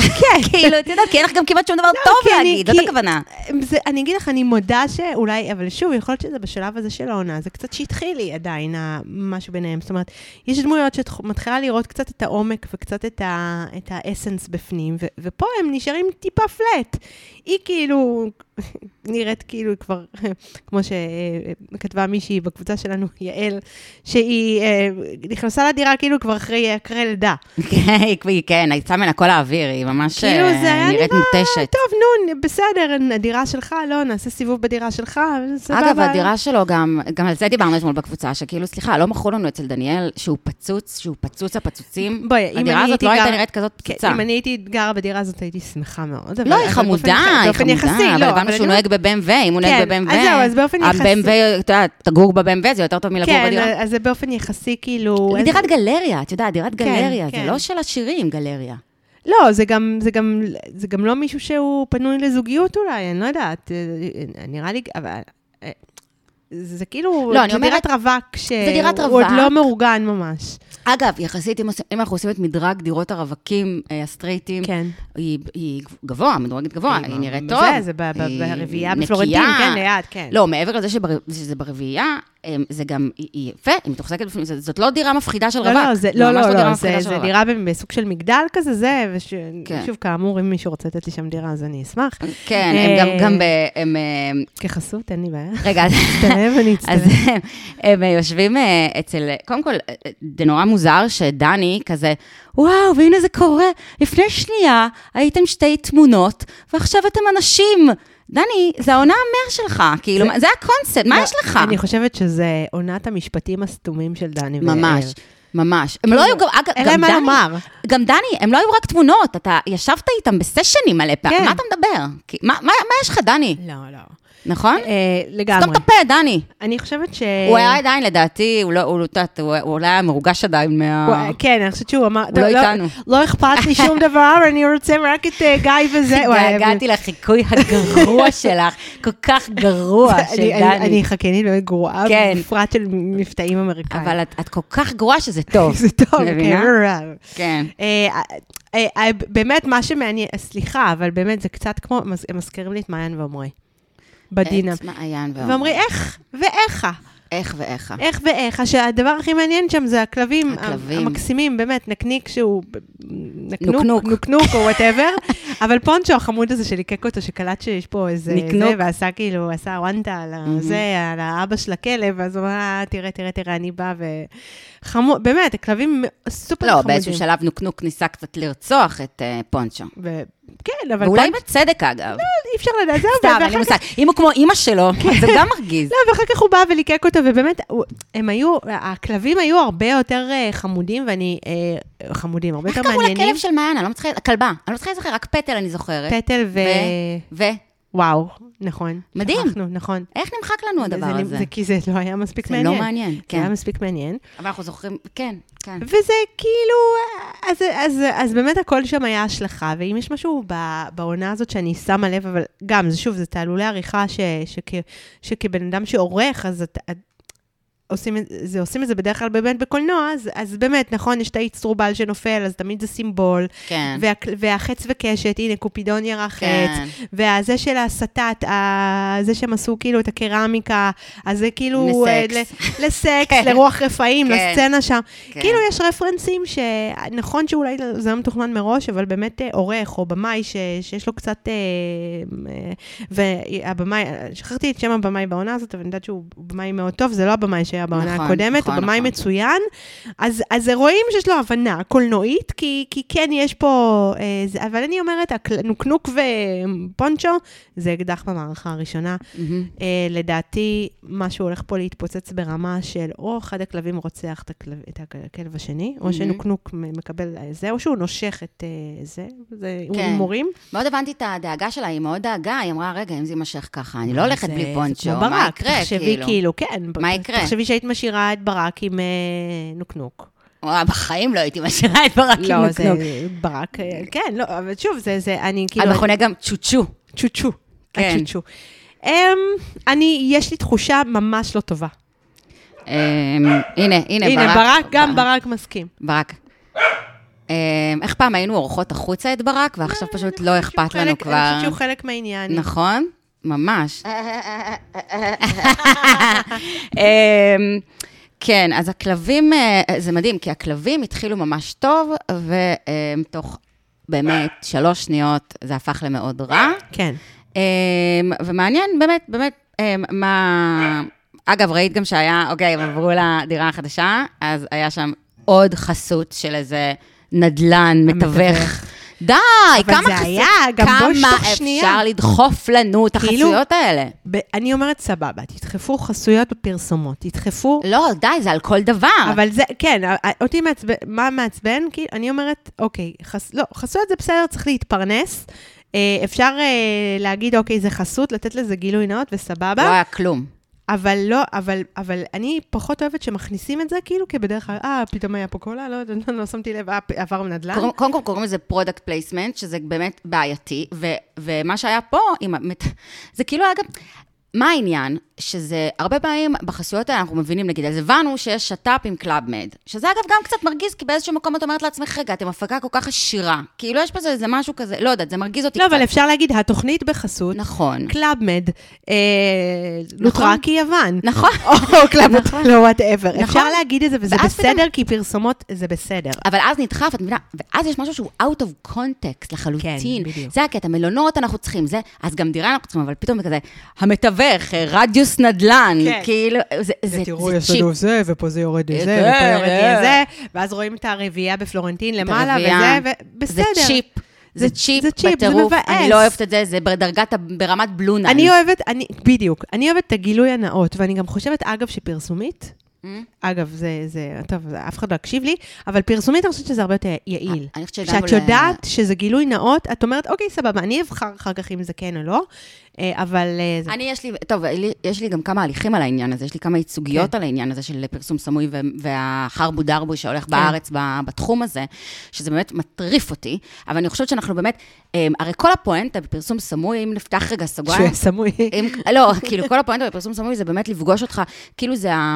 A: כן. כאילו, את יודעת, כי אין לך גם כמעט שום דבר
B: לא, כי
A: טוב
B: אני-
A: להגיד,
B: כי-
A: זאת הכוונה.
B: אמ, זה, אני אגיד לך, אני מודה שאולי, אבל שוב, יכול להיות שזה בשלב הזה של העונה, זה קצת שהתחיל לי עדיין, ה- משהו ביניהם. זאת אומרת, יש דמויות שאת ח- מתחילה לראות קצת את העומק וקצת את, ה, את האסנס בפנים, ו, ופה הם נשארים טיפה פלט. היא כאילו, נראית כאילו היא כבר, כמו שכתבה מישהי בקבוצה שלנו, יעל, שהיא אה, נכנסה לדירה כאילו כבר אחרי, אחרי לידה.
A: כן, היא- כן, היא יצאה ממנה כל האוויר, היא ממש
B: כאילו,
A: אה,
B: זה היה
A: נראית
B: נראה
A: מותשת.
B: טוב, נו, בסדר, הדירה שלך, לא, נעשה סיבוב בדירה שלך, סבבה.
A: אגב, הדירה שלו גם, גם על זה דיברנו אתמול בקבוצה, שכאילו, סליחה, לא מכרו לנו אצל דניאל שהוא פצוץ, שהוא פצוץ הפצוצים.
B: בואי, אם
A: הדירה הזאת
B: אני הייתי
A: לא
B: גרה-
A: הייתה נראית כזאת פצוצה.
B: כן, אם אני הייתי גרה בדירה הזאת, הייתי שמחה מאוד. אבל-
A: לא, היא
B: אבל
A: חמודה,
B: באופן יח-
A: היא
B: באופן יחסי,
A: חמודה, אבל
B: לא,
A: הבנו שהוא
B: אני
A: נוהג ב-BMW, אם הוא נוהג
B: כן,
A: ב-BMW,
B: אז זהו, אז באופן יחסי-
A: ה-BMW, את יודעת, תגור ב-BMW, זה יותר טוב
B: אומרת-
A: מלגור בדירה.
B: כן, אז זה באופן יחסי, כאילו...
A: היא
B: אז-
A: דירת גלריה, את יודעת, דירת
B: כן,
A: גלריה, זה
B: כן.
A: לא של עשירים גלריה.
B: לא, זה גם, זה, גם, זה גם לא מישהו שהוא פנוי לזוגיות אולי, אני לא יודעת. אה, נראה לי, אבל... אה, זה כאילו,
A: לא, אני
B: זה
A: אומרת-
B: דירת רווק, שהוא
A: דירת
B: עוד לא
A: רווק.
B: מאורגן ממש.
A: אגב, יחסית, אם, עושים- אם אנחנו עושים את מדרג דירות הרווקים, אה, הסטרייטים,
B: כן.
A: היא, היא גבוה, מדורגת גבוה, היא נראית
B: זה-
A: טוב.
B: כן. זה ב- ב-
A: היא
B: ברביעייה
A: נקייה.
B: בפלורנטין, כן, ליד, כן.
A: לא, מעבר לזה שבר, שזה ברביעייה, אמ, זה גם, היא- היא יפה, היא מתוחזקת בפנים, זאת, זאת לא דירה מפחידה של
B: לא,
A: רווק.
B: לא, זה,
A: זה
B: לא,
A: ממש
B: לא,
A: דירה
B: לא, זה,
A: מפחידה של
B: זה
A: רווק.
B: דירה בסוג של מגדל כזה, זה, וש...
A: כן.
B: שוב, כאמור, אם מישהו רוצה לתת לי שם דירה, אז אני אשמח.
A: כן, הם גם,
B: אה,
A: גם ב... הם, אמ,
B: כחסות, אין לי בעיה.
A: רגע, אז-
B: תלהב ואני
A: אז
B: אצטלם.
A: הם, הם יושבים אה, אצל, קודם כל, אה, אה, זה נורא מוזר שדני כזה, וואו, והנה זה קורה, לפני שנייה הייתם שתי תמונות, ועכשיו אתם אנשים. דני, זה העונה המאה שלך, כאילו,
B: זה-
A: מה- זה הקונספט, מה
B: לא,
A: יש לך?
B: אני חושבת שזה עונת המשפטים הסתומים של דני ויעל.
A: ממש, ממש. הם לא היו גם, אגב,
B: כאילו, אין
A: גם
B: להם מה
A: דני,
B: לומר.
A: גם דני, הם לא היו רק תמונות, אתה ישבת איתם בסשנים מלא פעמים,
B: כן.
A: מה אתה מדבר? כי- מה מה- מה יש לך, דני?
B: לא, לא.
A: נכון?
B: אה,
A: סתום
B: לגמרי.
A: את הפה, דני.
B: אני חושבת ש...
A: הוא היה עדיין, לדעתי, הוא לא, הוא לא יודעת, הוא הוא אולי היה מרוגש עדיין
B: הוא-
A: מה...
B: כן, אני חושבת שהוא אמר,
A: הוא
B: "טוב,
A: לא איתנו."
B: לא אכפת לי שום דבר, אני רוצה רק את אה, גיא וזה. הוא היה-
A: התגעגעתי לחיקוי הגרוע שלך, כל כך גרוע של
B: אני- אני-
A: דני.
B: אני חכנית באמת גרועה,
A: כן.
B: בפרט של מבטאים אמריקאים.
A: אבל את את כל כך גרועה שזה טוב.
B: זה טוב,
A: מבינה?
B: כן, רע.
A: כן.
B: אה, אה, אה, באמת, מה שמעניין, סליחה, אבל באמת, זה קצת כמו, מז- הם מזכירים לי את מעיין ועמרי. בדינם.
A: את אה, מעיין ועומרי.
B: ועמרי, איך ואיכה,
A: איך ואיך.
B: איך ואיכה, שהדבר הכי מעניין שם זה הכלבים,
A: הכלבים.
B: המקסימים, באמת, נקניק שהוא
A: נוקנוק.
B: נקנוק, נוקנוק או וואטאבר, אבל פונצ'ו החמוד הזה שליקק אותו, שקלט שיש פה איזה,
A: נקנוק.
B: זה, ועשה כאילו, עשה וונטה על ה- זה, על האבא של הכלב, ואז הוא אמר, "אה, תראה, תראה, תראה, אני בא, וחמוד, באמת, הכלבים סופר
A: לא,
B: חמודים.
A: באיזשהו שלב נוקנוק ניסה קצת לרצוח את אה, פונצ'ו.
B: ו- כן, אבל
A: ואולי
B: פונצ'ו-
A: בצדק, אגב.
B: אי אפשר לדעת, זהו,
A: סתם, אין
B: ואחר
A: לי
B: כך...
A: מושג. אם הוא כמו אימא שלו, זה גם מרגיז.
B: לא, ואחר כך הוא בא וליקק אותו, ובאמת, הוא- הם היו, הכלבים היו הרבה יותר אה, חמודים, ואני... אה, חמודים, הרבה
A: איך
B: יותר
A: קראו
B: מעניינים.
A: לכלב של מעיין? אני לא מצליחה, הכלבה. אני לא מצליחה להיזכר, רק פטל אני זוכרת.
B: פטל ו...
A: ו?
B: וואו, נכון.
A: מדהים.
B: שכחנו, נכון.
A: איך נמחק לנו הדבר
B: זה-
A: הזה?
B: זה כי זה לא היה מספיק
A: זה
B: מעניין.
A: לא מעניין,
B: זה היה
A: כן.
B: מספיק מעניין.
A: אבל אנחנו זוכרים, כן, כן.
B: וזה כאילו, אז, אז, אז באמת הכל שם היה השלכה, ואם יש משהו ב, בעונה הזאת שאני שמה לב, אבל גם, זה שוב, זה תעלולי עריכה ש, שכ, שכבן אדם שעורך, אז את, את, עושים, את- זה, עושים את זה בדרך כלל באמת בקולנוע, אז, אז באמת, נכון, יש את האיצטרובל שנופל, אז תמיד זה סימבול,
A: כן.
B: וה, והחץ וקשת, הנה, קופידון ירח
A: כן.
B: חץ, והזה של הסטת, ה- זה שהם עשו כאילו את הקרמיקה, אז זה כאילו...
A: לסקס.
B: אה, ל- לסקס,
A: כן.
B: לרוח רפאים,
A: כן.
B: לסצנה שם.
A: כן.
B: כאילו יש רפרנסים שנכון שאולי זה לא מתוכנן מראש, אבל באמת אה, עורך או במאי ש... שיש לו קצת... אה, אה, והבמאי, שכחתי את שם הבמאי בעונה הזאת, אבל אני יודעת שהוא במאי מאוד טוב, זה לא הבמאי שהיה בעונה
A: נכון,
B: הקודמת,
A: נכון,
B: הוא במאי
A: נכון.
B: מצוין. אז, אז רואים שיש לו הבנה קולנועית, כי, כי כן יש פה... אה, זה, אבל אני אומרת, הכל- נוקנוק ופונצ'ו זה אקדח במערכה הראשונה.
A: מהמם.
B: אה, לדעתי, משהו הולך פה להתפוצץ ברמה של או אחד הכלבים רוצח את, הכלב, את הכלב השני, או
A: Mhm.
B: שנוקנוק מ- מקבל אה, זה, או שהוא נושך את אה, זה, זה
A: כן.
B: הימורים.
A: מאוד הבנתי את הדאגה שלה, היא מאוד דאגה, היא אמרה, רגע, אם זה יימשך ככה, אני לא הולכת
B: זה-
A: בלי
B: זה
A: פונצ'ו,
B: כמו
A: מה
B: ברק,
A: יקרה,
B: תחשבי
A: כאילו?
B: כאילו, כן.
A: מה
B: ת-
A: יקרה?
B: תחשבי שהיית משאירה את ברק עם אה, נוקנוק.
A: וואי, בחיים לא הייתי משאירה את ברק עם
B: לא, זה
A: נוקנוק.
B: ברק, אה, כן, לא, אבל שוב, זה, זה, אני כאילו...
A: המכונה גם צ'וצ'ו.
B: צ'וצ'ו.
A: אה, נכון. כן.
B: הצ'וצ'ו. אמ, אני, יש לי תחושה ממש לא טובה.
A: אמ, הנה, הנה, ברק.
B: הנה, ברק, גם ברק מסכים.
A: ברק. אמ, איך פעם היינו אורחות החוצה את ברק, ועכשיו פשוט לא אכפת
B: שהוא
A: לנו
B: אה, נכון, חלק- אני
A: כבר.
B: חושבת שהוא חלק מהעניין.
A: נכון, ממש. אמ, כן, אז הכלבים, אה, זה מדהים, כי הכלבים התחילו ממש טוב, ותוך באמת שלוש שניות זה הפך למאוד רע.
B: כן.
A: אמ, ומעניין, באמת, באמת, אמ, מה... אגב, ראית גם שהיה, אוקיי, הם עברו לדירה החדשה, אז היה שם עוד חסות של איזה נדלן מתווך.
B: המתווך.
A: די,
B: אבל
A: כמה
B: זה
A: חסות,
B: היה, גם בואי
A: כמה
B: שתוך שנייה.
A: אפשר לדחוף לנו את
B: כאילו-
A: החסויות האלה?
B: ב- אני אומרת, סבבה, תדחפו חסויות בפרסומות, תדחפו,
A: לא, די, זה על כל דבר.
B: אבל זה, כן, א- א- אותי מעצבן, מה מעצבן? כי אני אומרת, אוקיי, חס, לא, חסויות זה בסדר, צריך להתפרנס. אה, אפשר אה, להגיד, אוקיי, זה חסות, לתת לזה גילוי נאות,
A: לא
B: וסבבה.
A: היה כלום.
B: אבל לא, אבל, אבל אני פחות אוהבת שמכניסים את זה, כאילו כבדרך כלל, אה, פתאום היה פה קולה, לא, לא, לא שמתי לב, אה, פ- עבר מנדל"ן.
A: קוראים- קודם כל קוראים לזה פרודקט פלייסמנט, שזה באמת בעייתי, ו, ומה שהיה פה, עם, ה- מת- זה כאילו היה גם... מה העניין? שזה, הרבה פעמים בחסויות האלה אנחנו מבינים, נגיד, אז הבנו שיש שת"פ עם קלאבמד, שזה אגב גם קצת מרגיז, כי באיזשהו מקום את אומרת לעצמך, רגע, אתם הפקה כל כך עשירה. כאילו, יש בזה איזה משהו כזה, לא יודעת, זה מרגיז אותי
B: לא,
A: קצת.
B: אבל אפשר להגיד, התוכנית בחסות,
A: נכון.
B: קלאבמד, אה, לוטראקי יוון.
A: נכון.
B: או קלאבמד, לא, וואטאבר. אפשר
A: נכון.
B: להגיד את זה, וזה
A: ואז פתאום-
B: בסדר, כי פרסומות זה בסדר.
A: אבל אז נדחף, את מבינה? ואז יש משהו שהוא out of context לחלוטין.
B: כן, בדיוק.
A: זה הקטע, מלונות אנחנו צריכים, זה, אז גם דירה אנחנו צריכים, אבל פתאום כזה, המתווך, אה, רדיוס נדל"ן,
B: כן.
A: כאילו, זה, זה,
B: ותראו,
A: זה
B: יש
A: צ'יפ. אה,
B: לנו זה, ופה זה יורד לי זה,
A: זה,
B: ופה יורד לי
A: זה.
B: זה, ואז רואים את הרביעייה בפלורנטין למעלה,
A: הרביעייה.
B: וזה, ובסדר.
A: זה צ'יפ. זה
B: זה-
A: צ'יפ,
B: זה צ'יפ, זה
A: בטירוף.
B: מבאס.
A: אני לא אוהבת את זה, זה בדרגת, ה- ברמת בלונן.
B: אני אוהבת, אני, בדיוק, אני אוהבת את הגילוי הנאות, ואני גם חושבת, אגב, שפרסומית,
A: Mm.
B: אגב, זה, זה, טוב, זה- אף אחד לא יקשיב לי, אבל פרסומית אני חושבת שזה הרבה יותר יעיל.
A: אני חושבת שהגענו
B: כשאת
A: ל-
B: יודעת שזה גילוי נאות, את אומרת, אוקיי, סבבה, אני אבחר אחר כך אם זה כן או לא, אה, אבל אה, זה...
A: אני יש לי, טוב, לי- יש לי גם כמה הליכים על העניין הזה, יש לי כמה ייצוגיות
B: כן.
A: על העניין הזה של פרסום סמוי ו- והחרבו דרבו שהולך
B: כן.
A: בארץ ב- בתחום הזה, שזה באמת מטריף אותי, אבל אני חושבת שאנחנו באמת, אמ, הרי כל הפואנטה בפרסום סמוי, אם נפתח רגע
B: שהוא
A: סוגריים,
B: יהיה סמוי.
A: אם, לא, כאילו, כל הפואנטה בפרסום סמוי זה באמת לפגוש אותך, כאילו זה ה-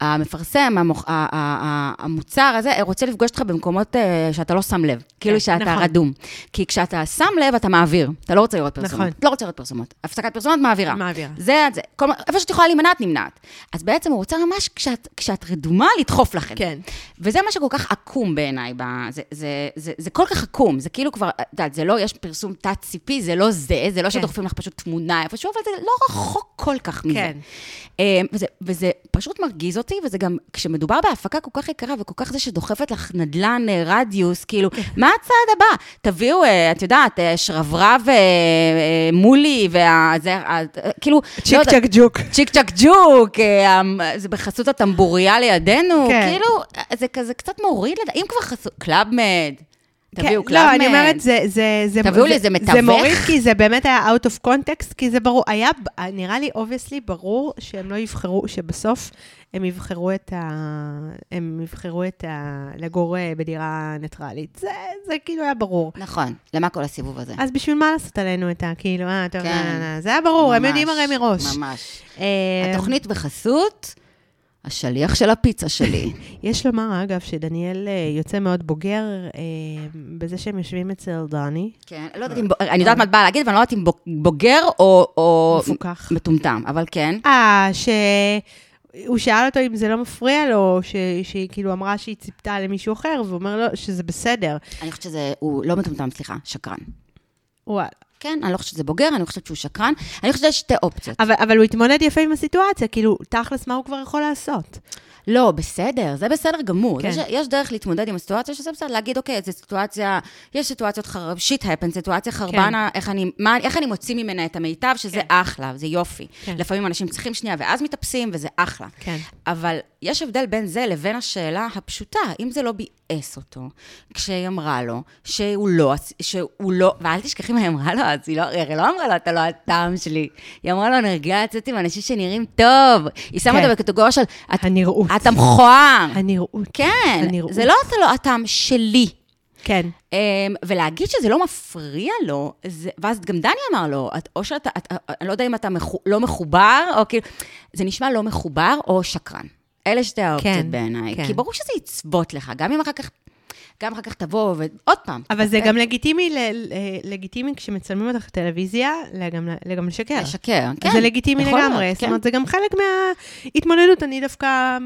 A: המפרסם, המוכ... ה- ה- ה- המוצר הזה, רוצה לפגוש אותך במקומות אה, שאתה לא שם לב, כאילו שאתה
B: נכון.
A: רדום. כי כשאתה שם לב, אתה מעביר, אתה לא רוצה לראות
B: נכון.
A: פרסומות. לא רוצה לראות פרסומות. הפסקת פרסומות מעבירה.
B: מעבירה.
A: אה, זה, זה, כל, מה- איפה שאת יכולה להימנע, את נמנעת. אז בעצם הוא רוצה ממש, כשאת, כשאת רדומה, לדחוף לכם.
B: כן.
A: וזה מה שכל כך עקום בעיניי, ב- זה, זה, זה, זה כל כך עקום, זה כאילו כבר, את יודעת, זה לא, יש פרסום תת-ציפי, זה לא זה,
B: כן.
A: זה לא שדוחפים לך פשוט תמונה איפשהו, אבל זה לא רחוק כל כך מזה.
B: כן.
A: אמ, וזה, וזה פשוט מרגיז אותי, וזה גם, כשמדובר בהפקה כל כך יקרה וכל כך זה שדוחפת לך נדלן אה, רדיוס, כאילו,
B: כן.
A: מה הצעד הבא? תביאו, אה, את יודעת, אה, שרברב אה, אה, מולי, וזה, כאילו, לא
B: צ'יק
A: יודעת,
B: צ'ק ג'וק.
A: צ'יק צ'ק ג'וק, אה, המ- זה בחסות הטמבוריה לידינו,
B: כן.
A: כאילו, אה, זה כזה קצת מוריד, לד- אם כבר חסות, קלאבמד, תביאו
B: כן, לא,
A: קלאבמד.
B: אני אומרת, זה... זה- זה-
A: תביאו לי, זה
B: זה
A: מתווך?
B: מוריד, כי זה באמת היה out of context, כי זה ברור, היה, נראה לי, אובייסלי, ברור שהם לא יבחרו, שבסוף הם יבחרו את ה... הם יבחרו את ה... לגור אה, בדירה ניטרלית. זה, זה כאילו היה ברור.
A: נכון, למה כל הסיבוב הזה?
B: אז בשביל מה לעשות עלינו את ה... כאילו, אה, טוב,
A: כן.
B: נה, נה, נה. זה היה ברור, הם
A: ממש,
B: יודעים הרי מראש.
A: ממש.
B: אה,
A: התוכנית בחסות, השליח של הפיצה שלי.
B: יש לומר, אגב, שדניאל אה, יוצא מאוד בוגר אה, בזה שהם יושבים אצל דני.
A: כן, לא יודעת אם, ב- אני יודעת מה את באה להגיד, אבל אני לא יודעת אם בו- בוגר או- או
B: מפוקח.
A: מטומטם, אבל כן.
B: אה, שהוא שאל אותו אם זה לא מפריע לו, ש... שהיא כאילו אמרה שהיא ציפתה למישהו אחר, והוא אומר לו שזה בסדר.
A: אני חושבת שזה, הוא לא מטומטם, סליחה, שקרן.
B: וואלה.
A: כן, אני לא חושבת שזה בוגר, אני חושבת שהוא שקרן. אני חושבת שיש שתי אופציות.
B: אבל, אבל הוא התמודד יפה עם הסיטואציה, כאילו, תכלס, מה הוא כבר יכול לעשות?
A: לא, בסדר, זה בסדר גמור.
B: כן.
A: כן. יש, יש דרך להתמודד עם הסיטואציה שזה בסדר, להגיד, אוקיי, זו סיטואציה, יש סיטואציות חרב, שיט הפן, סיטואציה חרבנה, כן. איך, אני, מה, איך אני מוציא ממנה את המיטב, שזה
B: כן.
A: כן. אחלה, זה יופי.
B: כן.
A: כן. לפעמים אנשים צריכים שנייה ואז מתאפסים, וזה אחלה.
B: כן.
A: אבל יש הבדל בין זה לבין השאלה הפשוטה, אם זה לא ביאס אותו, כשהיא אמרה לו שהוא לא, שהוא לא, ואל תשכחי מה היא אמרה לו, אז היא לא, היא הרי לא אמרה לו, אתה לא הטעם שלי. היא אמרה לו, אני רגילה לצאת עם אנשים שנראים טוב. היא שמה
B: כן.
A: אותו בקטגוריה של, "את
B: הנראות.
A: אתה מכוער.
B: הנראות.
A: כן,
B: הנראות.
A: זה לא אתה לא הטעם שלי.
B: כן.
A: אמ, ולהגיד שזה לא מפריע לו, זה, ואז גם דני אמר לו, את, או שאתה, את, אני לא יודע אם אתה מחו, לא מחובר, או כאילו, זה נשמע לא מחובר או שקרן. אלה שתי האופציות
B: כן,
A: בעיניי.
B: כן.
A: כי ברור שזה יצבוט לך, גם אם אחר כך, גם אחר כך תבוא, ועוד פעם,
B: אבל זה גם לגיטימי, ל... ל- לגיטימי כשמצלמים אותך בטלוויזיה, גם, גם לשקר.
A: לשקר, כן.
B: אה. זה לגיטימי
A: יכול
B: לגמרי,
A: להיות, כן.
B: זאת אומרת, זה גם חלק מההתמודדות, אני דווקא...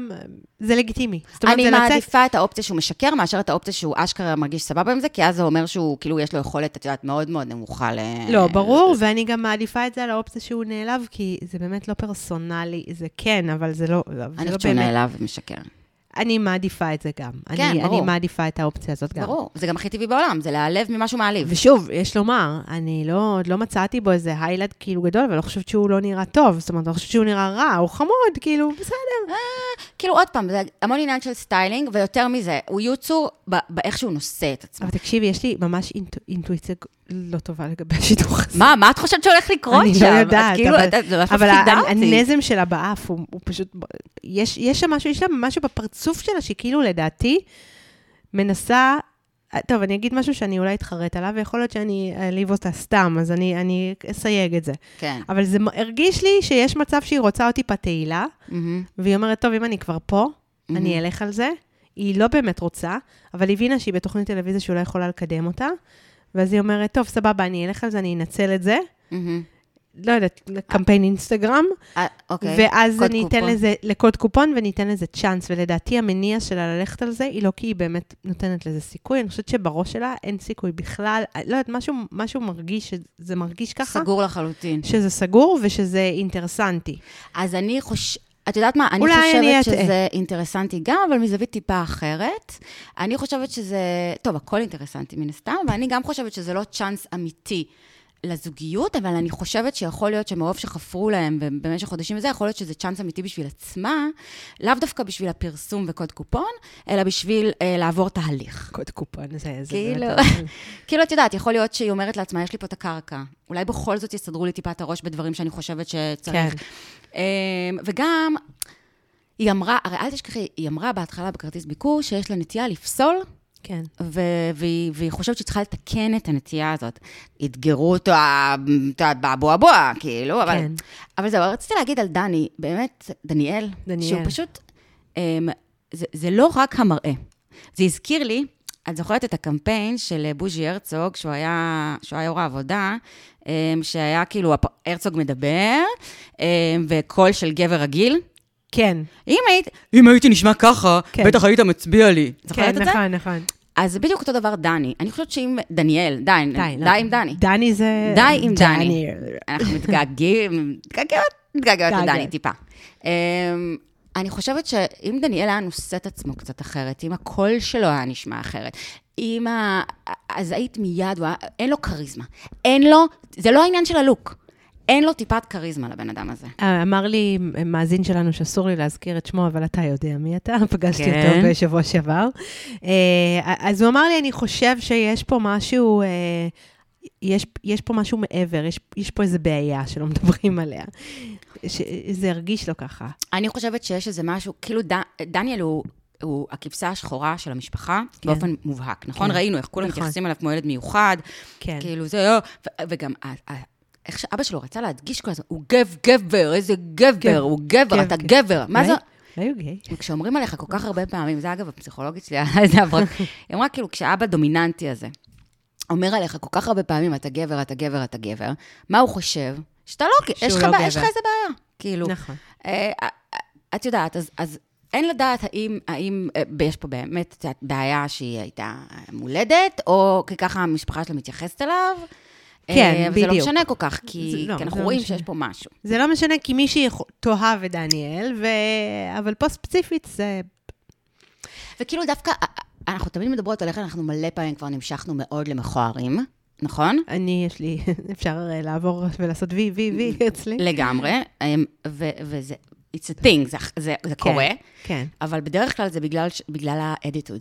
B: זה לגיטימי. זאת אומרת,
A: אני
B: זה לצאת...
A: מעדיפה את האופציה שהוא משקר, מאשר את האופציה שהוא אשכרה מרגיש סבבה עם זה, כי אז זה אומר שהוא, כאילו, יש לו יכולת, את יודעת, מאוד מאוד נמוכה ל...
B: לא, ברור, ואני גם מעדיפה את זה על האופציה שהוא נעלב, כי זה באמת לא פרסונלי, זה כן, אבל זה לא, זה
A: אני
B: לא
A: חושבת שהוא
B: באמת.
A: נעלב ומשקר.
B: אני מעדיפה את זה גם.
A: כן,
B: אני,
A: ברור.
B: אני מעדיפה את האופציה הזאת גם.
A: ברור, זה גם הכי טבעי בעולם, זה להיעלב ממשהו מעליב.
B: ושוב, יש לומר, אני לא, עוד לא מצאתי בו איזה היילד כאילו גדול, אבל לא חושבת שהוא לא נראה טוב, זאת אומרת, לא חושבת שהוא נראה רע או חמוד, כאילו, בסדר.
A: כאילו, עוד פעם, זה המון עניין של סטיילינג, ויותר מזה, הוא יוצור ב- באיך שהוא נושא את עצמו.
B: אבל תקשיבי, יש לי ממש אינטו- אינטואיציה לא טובה לגבי השידוך הזה.
A: מה, מה את חושבת שהולך לקרות
B: אני
A: שם?
B: לא
A: את
B: יודעת,
A: כאילו,
B: אבל-
A: את- את ממש
B: אבל
A: מפחידה
B: ה-
A: אותי.
B: הנזם שלה באף, הוא הוא פשוט... יש יש שם משהו, יש לה משהו בפרצוף שלה, שכאילו לדעתי מנסה... טוב, אני אגיד משהו שאני אולי אתחרט עליו, ויכול להיות שאני אעליב אותה סתם, אז אני אני אסייג את זה.
A: כן.
B: אבל זה מ- הרגיש לי שיש מצב שהיא רוצה אותי בתהילה,
A: מהמם.
B: והיא אומרת, טוב, אם אני כבר פה, אני אלך על זה. היא לא באמת רוצה, אבל היא הבינה שהיא בתוכנית טלוויזיה שאולי יכולה לקדם אותה, ואז היא אומרת, טוב, סבבה, אני אלך על זה, אני אנצל את זה.
A: מהמם.
B: לא יודעת, לקמפיין אינסטגרם,
A: אה, אוקיי.
B: ואז
A: קוד
B: אני אתן
A: קופון.
B: לזה, לקוד קופון וניתן לזה צ'אנס, ולדעתי המניע שלה ללכת על זה, היא לא כי היא באמת נותנת לזה סיכוי, אני חושבת שבראש שלה אין סיכוי בכלל, לא יודעת, משהו, משהו מרגיש, שזה מרגיש ככה,
A: סגור לחלוטין.
B: שזה סגור ושזה אינטרסנטי.
A: אז אני חושבת... את יודעת מה? אני
B: אולי אני
A: חושבת
B: אטעה.
A: שזה אינטרסנטי גם, אבל מזווית טיפה אחרת. אני חושבת שזה... טוב, הכל אינטרסנטי מן הסתם, ואני גם חושבת שזה לא צ'אנס אמיתי לזוגיות, אבל אני חושבת שיכול להיות שמרוב שחפרו להם במשך חודשים וזה, יכול להיות שזה צ'אנס אמיתי בשביל עצמה, לאו דווקא בשביל הפרסום וקוד קופון, אלא בשביל אה, לעבור תהליך.
B: קוד קופון, זה... זה
A: כאילו,
B: באמת- לא-
A: כאילו, את יודעת, יכול להיות שהיא אומרת לעצמה, יש לי פה את הקרקע. אולי בכל זאת יסדרו לי טיפה את הראש בדברים שאני חושבת
B: כן,
A: שצריך. אמ, וגם, היא אמרה, הרי אל תשכחי, היא אמרה בהתחלה בכרטיס ביקור שיש לה נטייה לפסול,
B: כן.
A: ו- והיא, והיא חושבת שהיא צריכה לתקן את הנטייה הזאת. אתגרו אותו, ה- את יודעת, באבו אבוה, כאילו, אבל...
B: כן.
A: אבל זהו, אבל רציתי להגיד על דני, באמת, דניאל,
B: דניאל.
A: שהוא פשוט, אמ, זה, זה לא רק המראה. זה הזכיר לי, את זוכרת את הקמפיין של בוז'י הרצוג, שהוא היה, שהוא היה יו"ר העבודה, אמ, שהיה כאילו, הפ- הרצוג מדבר, אמ, וקול של גבר רגיל.
B: כן,
A: אם היית, אם הייתי נשמע ככה,
B: כן.
A: בטח היית מצביע לי. זוכרת
B: כן,
A: את זה?
B: נכון, נכון.
A: אז זה בדיוק אותו דבר דני. אני חושבת שאם דניאל, די, די,
B: לא.
A: די עם דני.
B: דני זה...
A: די עם דני. אנחנו מתגעגעים, מתגעגעות, מתגעגעות
B: מתגעגעת.
A: לדני טיפה. אמ, אני חושבת שאם דניאל היה נושא את עצמו קצת אחרת, אם הקול שלו היה נשמע אחרת, אם ה... אז היית מיד, הוא היה- אין לו כריזמה. אין לו, זה לא העניין של הלוק. אין לו טיפת כריזמה לבן אדם הזה.
B: אה, אמר לי מאזין שלנו שאסור לי להזכיר את שמו, אבל אתה יודע מי אתה, פגשתי
A: כן.
B: אותו בשבוע שעבר. אה, אז הוא אמר לי, אני חושב שיש פה משהו, אה, יש, יש פה משהו מעבר, יש, יש פה איזו בעיה שלא מדברים עליה. ש- זה הרגיש לו ככה.
A: אני חושבת שיש איזה משהו, כאילו ד, דניאל הוא, הוא הכבשה השחורה של המשפחה, כן. באופן מובהק, נכון?
B: כן.
A: כן. ראינו איך כולם
B: נכון.
A: נכון. מתייחסים אליו כמו ילד מיוחד,
B: כן.
A: כן. כאילו זה, אה, ו- וגם ה- ה- איך שאבא שלו רצה להדגיש כל הזמן, הוא גב, גבר, איזה גבר,
B: כן.
A: הוא גבר,
B: כן,
A: אתה
B: כן.
A: גבר, מה זה...
B: היו גיי.
A: כשאומרים עליך כל כך הרבה פעמים, זה אגב, הפסיכולוגית שלי, היה איזה הברק, היא אמרה כאילו, כשאבא דומיננטי הזה, אומר עליך כל כך הרבה פעמים, אתה גבר, אתה גבר, אתה גבר, מה הוא חושב? שאתה לא,
B: שהוא
A: יש לך
B: לא
A: בעיה, יש לך
B: גבר.
A: איזה בעיה, כאילו.
B: נכון.
A: אה, אה, את יודעת, אז, אז אין לדעת האם, האם אה, יש פה באמת את יודעת, בעיה שהיא הייתה אה, מולדת, או כי ככה המשפחה שלה מתייחסת אליו. אה,
B: כן,
A: אבל זה לא
B: בדיוק.
A: משנה כל כך, כי,
B: זה- לא,
A: כי
B: זה
A: אנחנו
B: לא
A: רואים
B: משנה.
A: שיש פה משהו.
B: זה לא משנה, כי מישהי יכול- תאהב את דניאל, ו... אבל פה ספציפית זה...
A: וכאילו דווקא, אה, אה, אנחנו תמיד מדברות על איך אנחנו מלא פעמים כבר נמשכנו מאוד למכוערים, נכון?
B: אני, יש לי... אפשר אה, לעבור ולעשות וי, וי, וי אצלי.
A: לגמרי. אה, ו- וזה, it's a thing, זה, זה, זה קורה,
B: כן.
A: אבל בדרך כלל זה בגלל, ש- בגלל האדיטוד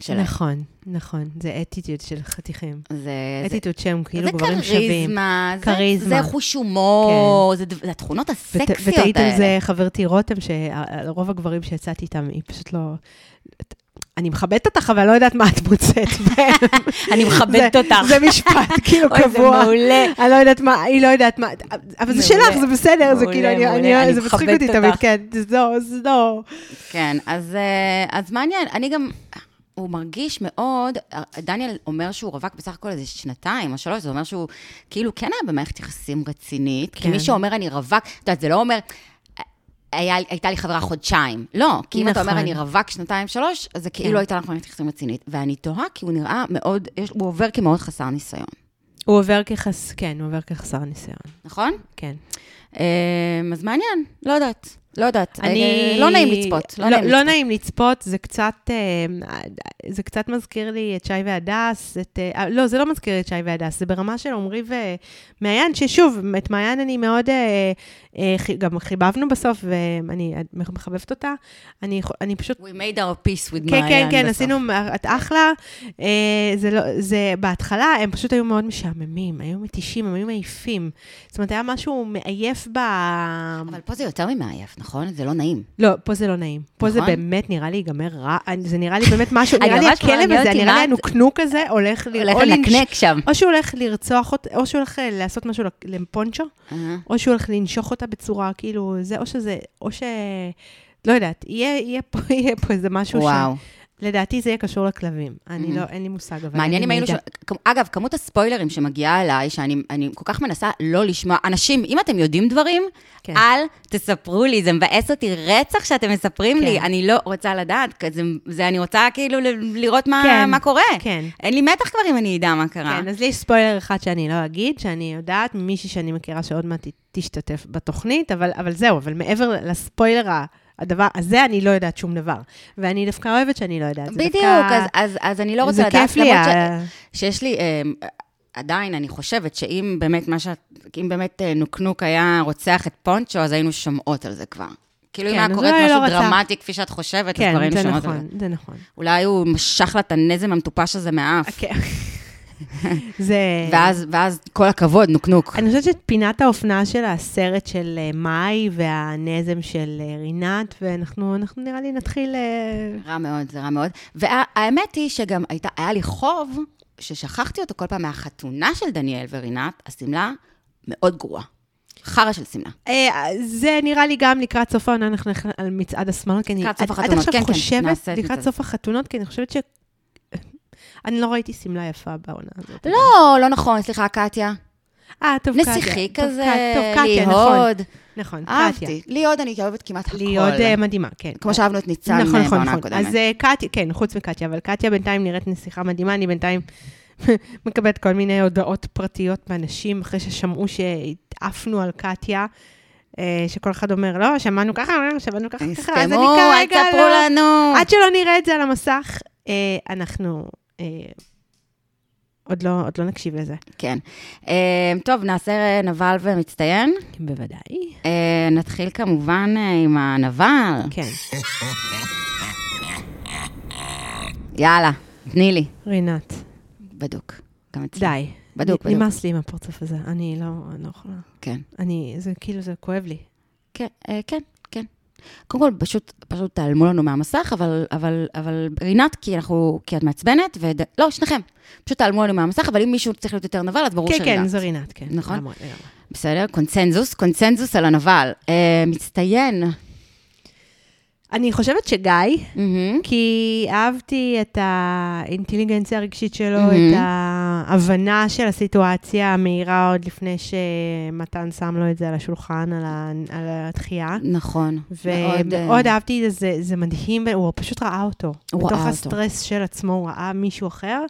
A: שלהם.
B: נכון, נכון. זה אטיטיוד של חתיכים.
A: זה, זה,
B: אטיטיוד שהם כאילו
A: זה
B: גברים שווים.
A: כריזמה, זה
B: כריזמה. כן.
A: זה חוש הומור, זה, דו- זה התכונות
B: ות-
A: הסקסיות
B: ותעיד על
A: האלה.
B: זה חברתי רותם, שרוב הגברים שיצאתי איתם, היא פשוט לא... אני מכבדת אותך, אבל לא יודעת מה את מוצאת בהם.
A: אני מכבדת
B: זה-
A: אותך.
B: זה משפט כאילו
A: אוי, זה
B: קבוע.
A: מעולה.
B: אני לא יודעת מה, היא לא יודעת מה, אבל זה
A: מעולה.
B: שלך, זה בסדר, זה
A: מעולה,
B: כאילו, אני-
A: מעולה,
B: אני-
A: אני
B: זה מצחיק
A: מכבדת
B: אותי תמיד,
A: אותך.
B: כן, זה לא, זה לא.
A: כן, אז, אה, אז מעניין, אני גם... הוא מרגיש מאוד, דניאל אומר שהוא רווק בסך הכל איזה שנתיים או שלוש, זה אומר שהוא כאילו כן היה במערכת יחסים רצינית, כי
B: כן.
A: מי שאומר אני רווק, את יודעת, זה לא אומר, היה, הייתה לי חברה חודשיים. לא, כי אם אתה
B: נכון. כן.
A: אומר אני רווק שנתיים, שלוש, אז זה כאילו הייתה לך מערכת יחסים רצינית. ואני תוהה כי הוא נראה מאוד, יש, הוא עובר כמאוד חסר ניסיון,
B: הוא עובר כחס... כן, הוא עובר כחסר ניסיון,
A: נכון?
B: כן.
A: אמ, אמ, אז מעניין, לא יודעת. לא יודעת. אה, לא נעים לצפות. לא,
B: לא,
A: נעים
B: לא
A: לצפות.
B: נעים לצפות, זה קצת, אה, זה קצת מזכיר לי את שי והדס, את... אה, לא, זה לא מזכיר לי את שי והדס, זה ברמה של עמרי ומעיין, ששוב, את מעיין אני מאוד, אה, אה, חי- גם חיבבנו בסוף, ואני מחבבת אותה. אני, יכול- אני
A: We
B: פשוט
A: made our peace with
B: כן,
A: מעיין
B: כן, כן,
A: בסוף.
B: עשינו, את אחלה. אה, זה לא, זה, בהתחלה הם פשוט היו מאוד משעממים, היו מתישים, הם היו מעיפים. זאת אומרת, היה משהו מעייף ב...
A: אבל פה זה יותר ממעייף, נכון? זה לא נעים.
B: לא, פה זה לא נעים. פה זה
A: נכון.
B: באמת נראה לי ייגמר רע, אני- זה נראה לי באמת משהו,
A: אני
B: נראה לי
A: ממש
B: הכלב
A: מעניין
B: הזה,
A: אותי
B: נראה
A: מה-
B: לי הנוקנוק הזה הולך ל...
A: הולך
B: או לנש-
A: לנקנק שם.
B: או שהוא הולך לרצוח אותה, או שהוא הולך אה, לעשות משהו ל- לפונצ'ו,
A: אה.
B: או שהוא הולך לנשוך אותה בצורה כאילו, זה, או שזה, או ש... לא יודעת, יהיה, יהיה, פה, יהיה פה איזה משהו
A: וואו.
B: לדעתי זה יהיה קשור לכלבים. אני לא, אין לי מושג, אבל...
A: מעניין אם
B: אני
A: היינו... ש...
B: מעידה.
A: כמ- אגב, כמות הספוילרים שמגיעה אליי, שאני אני כל כך מנסה לא לשמוע, אנשים, אם אתם יודעים דברים,
B: כן.
A: אל תספרו לי, זה מבאס אותי רצח שאתם מספרים לי,
B: כן.
A: אני לא רוצה לדעת, כי זה, זה אני רוצה כאילו ל- לראות מה,
B: כן,
A: מה קורה.
B: כן.
A: אין לי מתח כבר אם אני אדע מה קרה.
B: כן, אז לי יש ספוילר אחד שאני לא אגיד, שאני יודעת ממישהי שאני מכירה שעוד מעט ת- תשתתף בתוכנית, אבל, אבל זהו, אבל מעבר לספוילר ה- הדבר הזה, אני לא יודעת שום דבר. ואני דווקא אוהבת שאני לא יודעת. זה
A: בדיוק,
B: דווקא...
A: אז, אז, אז אני לא
B: זה
A: רוצה לדעת,
B: כיף לי.
A: למרות ש-
B: ה-
A: שיש לי, אה, עדיין, אני חושבת שאם באמת מה שאת, אם באמת אה, נוקנוק היה רוצח את פונצ'ו, אז היינו שומעות על זה כבר. כאילו, אם
B: כן,
A: היה
B: אז
A: קורה
B: אולי
A: משהו
B: לא רצח.
A: דרמטי, כפי שאת חושבת, אז כבר
B: כן,
A: היינו
B: זה
A: שומעות על זה.
B: נכון, זה נכון.
A: אולי הוא משך לה את הנזם המטופש הזה מהאף.
B: כן. זה...
A: ואז, ואז כל הכבוד, נוקנוק.
B: כן. אני חושבת שאת פינת האופנה של הסרט של אה, מאי והנזם של אה, רינת, ואנחנו אנחנו נראה לי נתחיל... אה,
A: רע מאוד, זה רע מאוד. והאמת היא שגם הייתה, היה לי חוב ששכחתי אותו כל פעם מהחתונה של דניאל ורינת, השמלה מאוד גרועה. חרא של שמלה.
B: אה, זה נראה לי גם לקראת סוף העונה, אנחנו נלך על מצעד השמאלות, כי אני...
A: לקראת
B: את-
A: סוף החתונות,
B: את
A: כן,
B: עכשיו
A: כן,
B: חושבת
A: נעשה את
B: לקראת
A: זה.
B: סוף החתונות, כי אני חושבת ש... אני לא ראיתי שמלה יפה בעונה הזאת.
A: לא, לא נכון, סליחה, קטיה.
B: אה, טוב, קטיה.
A: נסיכי
B: טוב,
A: כזה,
B: קט- טוב, קטיה, נכון.
A: ליהוד.
B: נכון, קטיה.
A: אהבתי. ליהוד אני אוהבת כמעט הכל.
B: ליהוד אה, מדהימה, כן.
A: כמו שאהבנו את ניצן
B: נכון,
A: אה,
B: נכון,
A: בעונה
B: נכון.
A: הקודמת.
B: אז אה, קטיה, כן, חוץ מקטיה, אבל קטיה בינתיים נראית נסיכה מדהימה, אני בינתיים מקבלת כל מיני הודעות פרטיות מאנשים אחרי ששמעו שהתעפנו על קטיה, אה, שכל אחד אומר, לא, שמענו ככה, אה, שמענו ככה, ככה, אז אני
A: תסתמו, אל
B: כרגע
A: תספרו
B: לא...
A: לנו.
B: עד שלא נראה את זה על המסך, אה, אנחנו אה, עוד לא- עוד לא נקשיב לזה.
A: כן. אה, טוב, נעשה אה, נבל ומצטיין.
B: בוודאי.
A: אה, נתחיל כמובן אה, עם הנבל.
B: כן.
A: יאללה, תני לי.
B: רינת,
A: בדוק. גם אצלי.
B: די.
A: כן. בדוק,
B: נ-
A: בדוק.
B: נמאס לי עם הפרצוף הזה, אני לא אני לא יכולה.
A: כן.
B: אני, זה כאילו, זה כואב לי.
A: כן, אה, כן, כן. קודם כל, פשוט, פשוט תעלמו לנו מהמסך, אבל, אבל, אבל רינת, כי אנחנו, כי את מעצבנת, וד... לא, שניכם. פשוט תעלמו לנו מהמסך, אבל אם מישהו צריך להיות יותר נבל, אז ברור
B: כן,
A: שרינת.
B: כן, זה רינת, כן.
A: נכון?
B: לגמרי, לגמרי.
A: בסדר, קונצנזוס, קונצנזוס על הנבל. אה, מצטיין.
B: אני חושבת שגיא, כן.
A: מהמם.
B: כי אהבתי את האינטליגנציה הרגשית שלו,
A: מהמם.
B: את ההבנה של הסיטואציה המהירה עוד לפני שמתן שם לו את זה על השולחן, על ה- על הדחייה.
A: נכון. מאוד, אה,
B: ומאוד אהבתי את זה, זה, זה מדהים, הוא פשוט ראה אותו.
A: הוא ראה
B: בתוך
A: אותו.
B: הסטרס של עצמו הוא ראה מישהו אחר,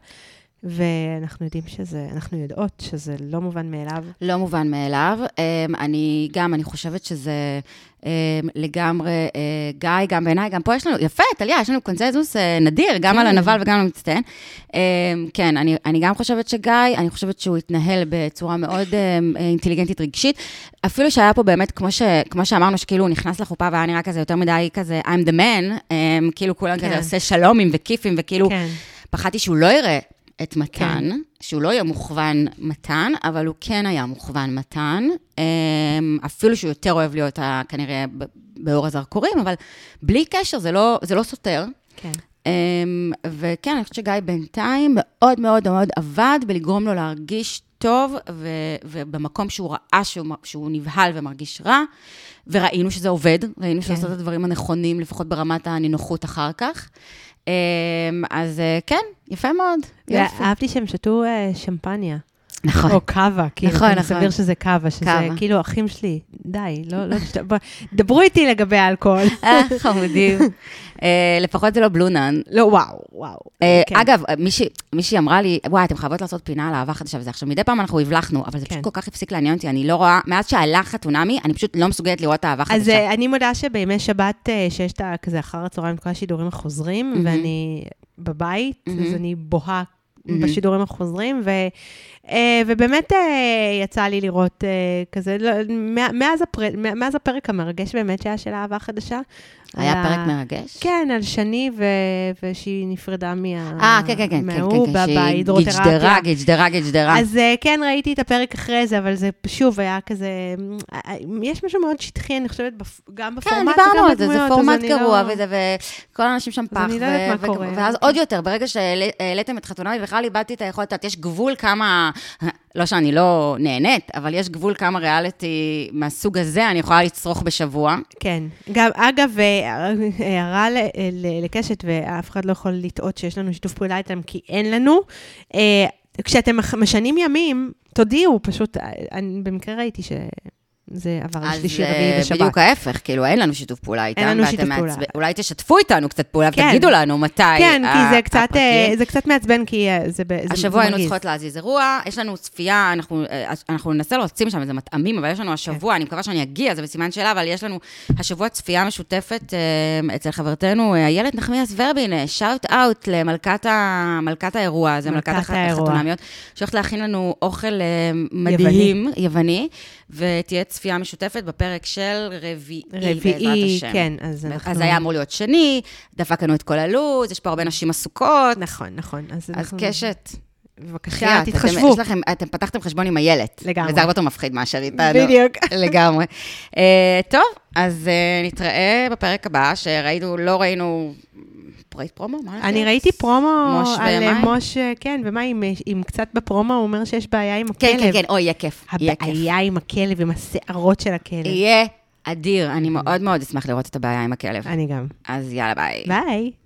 B: ואנחנו יודעים שזה, אנחנו יודעות שזה לא מובן מאליו.
A: לא מובן מאליו. אמ, אני גם, אני חושבת שזה אמ, לגמרי, אה, גיא, גם בעיניי, גם פה יש לנו, יפה, טליה, יש לנו קונצנזוס אה, נדיר, גם
B: כן.
A: על הנבל וגם על המצטיין. אמ, כן, אני, אני גם חושבת שגיא, אני חושבת שהוא התנהל בצורה מאוד אמ, אה, אינטליגנטית רגשית. אפילו שהיה פה באמת, כמו, ש, כמו שאמרנו, שכאילו הוא נכנס לחופה והיה נראה כזה יותר מדי כזה, I'm the man, אמ, כאילו כולם
B: כן.
A: כזה עושה שלומים וכיפים, וכאילו,
B: כן.
A: פחדתי שהוא לא יראה את מתן,
B: כן.
A: כן. שהוא לא יהיה מוכוון מתן, אבל הוא כן היה מוכוון מתן, אמ, אפילו שהוא יותר אוהב להיות ה- כנראה ב- באור הזרקורים, אבל בלי קשר, זה לא, זה לא סותר.
B: כן.
A: אמ, וכן, אני חושבת שגיא בינתיים מאוד מאוד מאוד עבד בלגרום לו להרגיש טוב, ו- ובמקום שהוא ראה שהוא, מ- שהוא נבהל ומרגיש רע, וראינו שזה עובד, ראינו שהוא
B: כן.
A: עושה את הדברים הנכונים, לפחות ברמת הנינוחות אחר כך. אמ, אז אה, כן, יפה מאוד, יופי.
B: ואהבתי שהם שתו אה, שמפניה.
A: נכון.
B: או קאבה, כאילו,
A: נכון,
B: נכון,
A: נכון.
B: סביר שזה קאבה, שזה
A: קאבה.
B: כאילו אחים שלי, די, לא, לא, תשת- בוא, דברו איתי לגבי האלכוהול.
A: אה, חמודים. אה, לפחות זה לא בלונן.
B: לא, וואו, וואו.
A: אה,
B: כן.
A: אגב, מישהי- מישהי אמרה לי, וואי, אתם חייבות לעשות פינה על אהבה חדשה וזה. עכשיו, מדי פעם אנחנו הבלחנו, אבל זה
B: כן.
A: פשוט כל כך הפסיק לעניין אותי, אני לא רואה, מאז שעלה חתונמי, אני פשוט לא מסוגלת לראות אהבה
B: אז
A: חדשה.
B: אה, אני מודה שבימי שבת, אה, שיש את ה- כזה אחר הצהריים, את כל השידורים החוזרים,
A: מהמם.
B: ואני בבית, אז
A: מהמם.
B: אני בוהה
A: מהמם.
B: בשידורים החוזרים, ו, אה, ובאמת אה, יצא לי לראות אה, כזה, לא, מה- מאז, הפר, מה- מאז הפרק המרגש באמת שהיה של אהבה חדשה. על
A: היה
B: ה-
A: פרק מרגש?
B: אה, כן, על שני, ו... ושהיא נפרדה מה...
A: אה, כן, כן, כן, כן,
B: מההוא
A: כן,
B: ב-
A: כן, שהיא
B: בהידרותרפיה.
A: גיג'דרה, גיג'דרה, גיג'דרה.
B: אז אה, כן, ראיתי את הפרק אחרי זה, אבל זה שוב היה כזה... אה, אה, יש משהו מאוד שטחי, אני חושבת, בפ- גם בפורמט
A: כן,
B: וגם
A: דיברנו על זה, זה
B: בדמויות, אז
A: פורמט
B: אני
A: גרוע
B: לא-
A: וזה, וכל האנשים שם פח.
B: אני לא יודעת
A: ו-
B: מה
A: ו-
B: קורה.
A: ואז עוד יותר, ברגע שהעליתם את חתונמי, בכלל איבדתי את היכולת, את יודעת, יש גבול כמה, לא שאני לא נהנית, אבל יש גבול כמה ריאליטי מהסוג הזה אני יכולה לצרוך בשבוע.
B: כן. גם, אגב, אה, הערה ל- ל- לקשת, ואף אחד לא יכול לטעות שיש לנו שיתוף פעולה איתם, כי אין לנו. אה, כשאתם מח- משנים ימים, תודיעו, פשוט, אה, אני במקרה ראיתי שזה עבר לשלישי, רביעי
A: אה,
B: ושבת.
A: בדיוק ההפך, כאילו, אין לנו שיתוף פעולה איתם.
B: לנו
A: ואתם
B: שיתוף פעולה.
A: מעצבן- אולי תשתפו איתנו קצת פעולה
B: כן.
A: ותגידו לנו מתי.
B: כן, כי
A: ה-
B: זה קצת, אה,
A: הפרקים.
B: זה קצת מעצבן, כי אה, זה ב- זה- זה
A: השבוע היינו
B: מרגיז.
A: צריכות להזיז אירוע, יש לנו צפייה, אנחנו, אה, אנחנו ננסה להוציא משם איזה מטעמים, אבל יש
B: כן.
A: לנו השבוע, אני מקווה שאני אגיע, זה בסימן שאלה, אבל יש לנו השבוע צפייה משותפת אה, אצל חברתנו אה, איילת נחמיאס ורבין, שאוט אאוט למלכת ה- מלכת האירוע הזה, מלכת
B: מלכת
A: הח-
B: האירוע.
A: החתונמיות, שהולכת להכין לנו אוכל אה, מדהים, יווני, ותהיה צפייה משותפת בפרק של רביעי,
B: רביעי,
A: בעזרת השם.
B: כן, אז אנחנו...
A: אז היה אמור להיות שני, דפק לנו את כל הלו"ז, יש פה הרבה נשים עסוקות,
B: נכון, נכון. אז
A: אז
B: אנחנו-
A: קשת.
B: בבקשה,
A: בחייאת, אתם,
B: תתחשבו.
A: יש לכם, אתם פתחתם חשבון עם איילת.
B: לגמרי.
A: וזה הרבה יותר מפחיד מאשר איתנו.
B: בדיוק.
A: לגמרי. אה, טוב, אז אה, נתראה בפרק הבא, שראינו, לא ראינו... ראית פרומו? מה
B: אני
A: ראית?
B: ראיתי פרומו
A: מוש
B: על אה,
A: ומים?
B: מוש, אה, כן, ומה אם, אה, אם קצת בפרומו הוא אומר שיש בעיה עם הכלב.
A: כן, כן, כן, אוי, יהיה כיף. יהיה כיף.
B: הבעיה עם הכלב, עם השערות של הכלב.
A: יהיה אדיר. אני מאוד מאוד אשמח לראות את הבעיה עם הכלב.
B: אני גם.
A: אז יאללה, ביי.
B: ביי.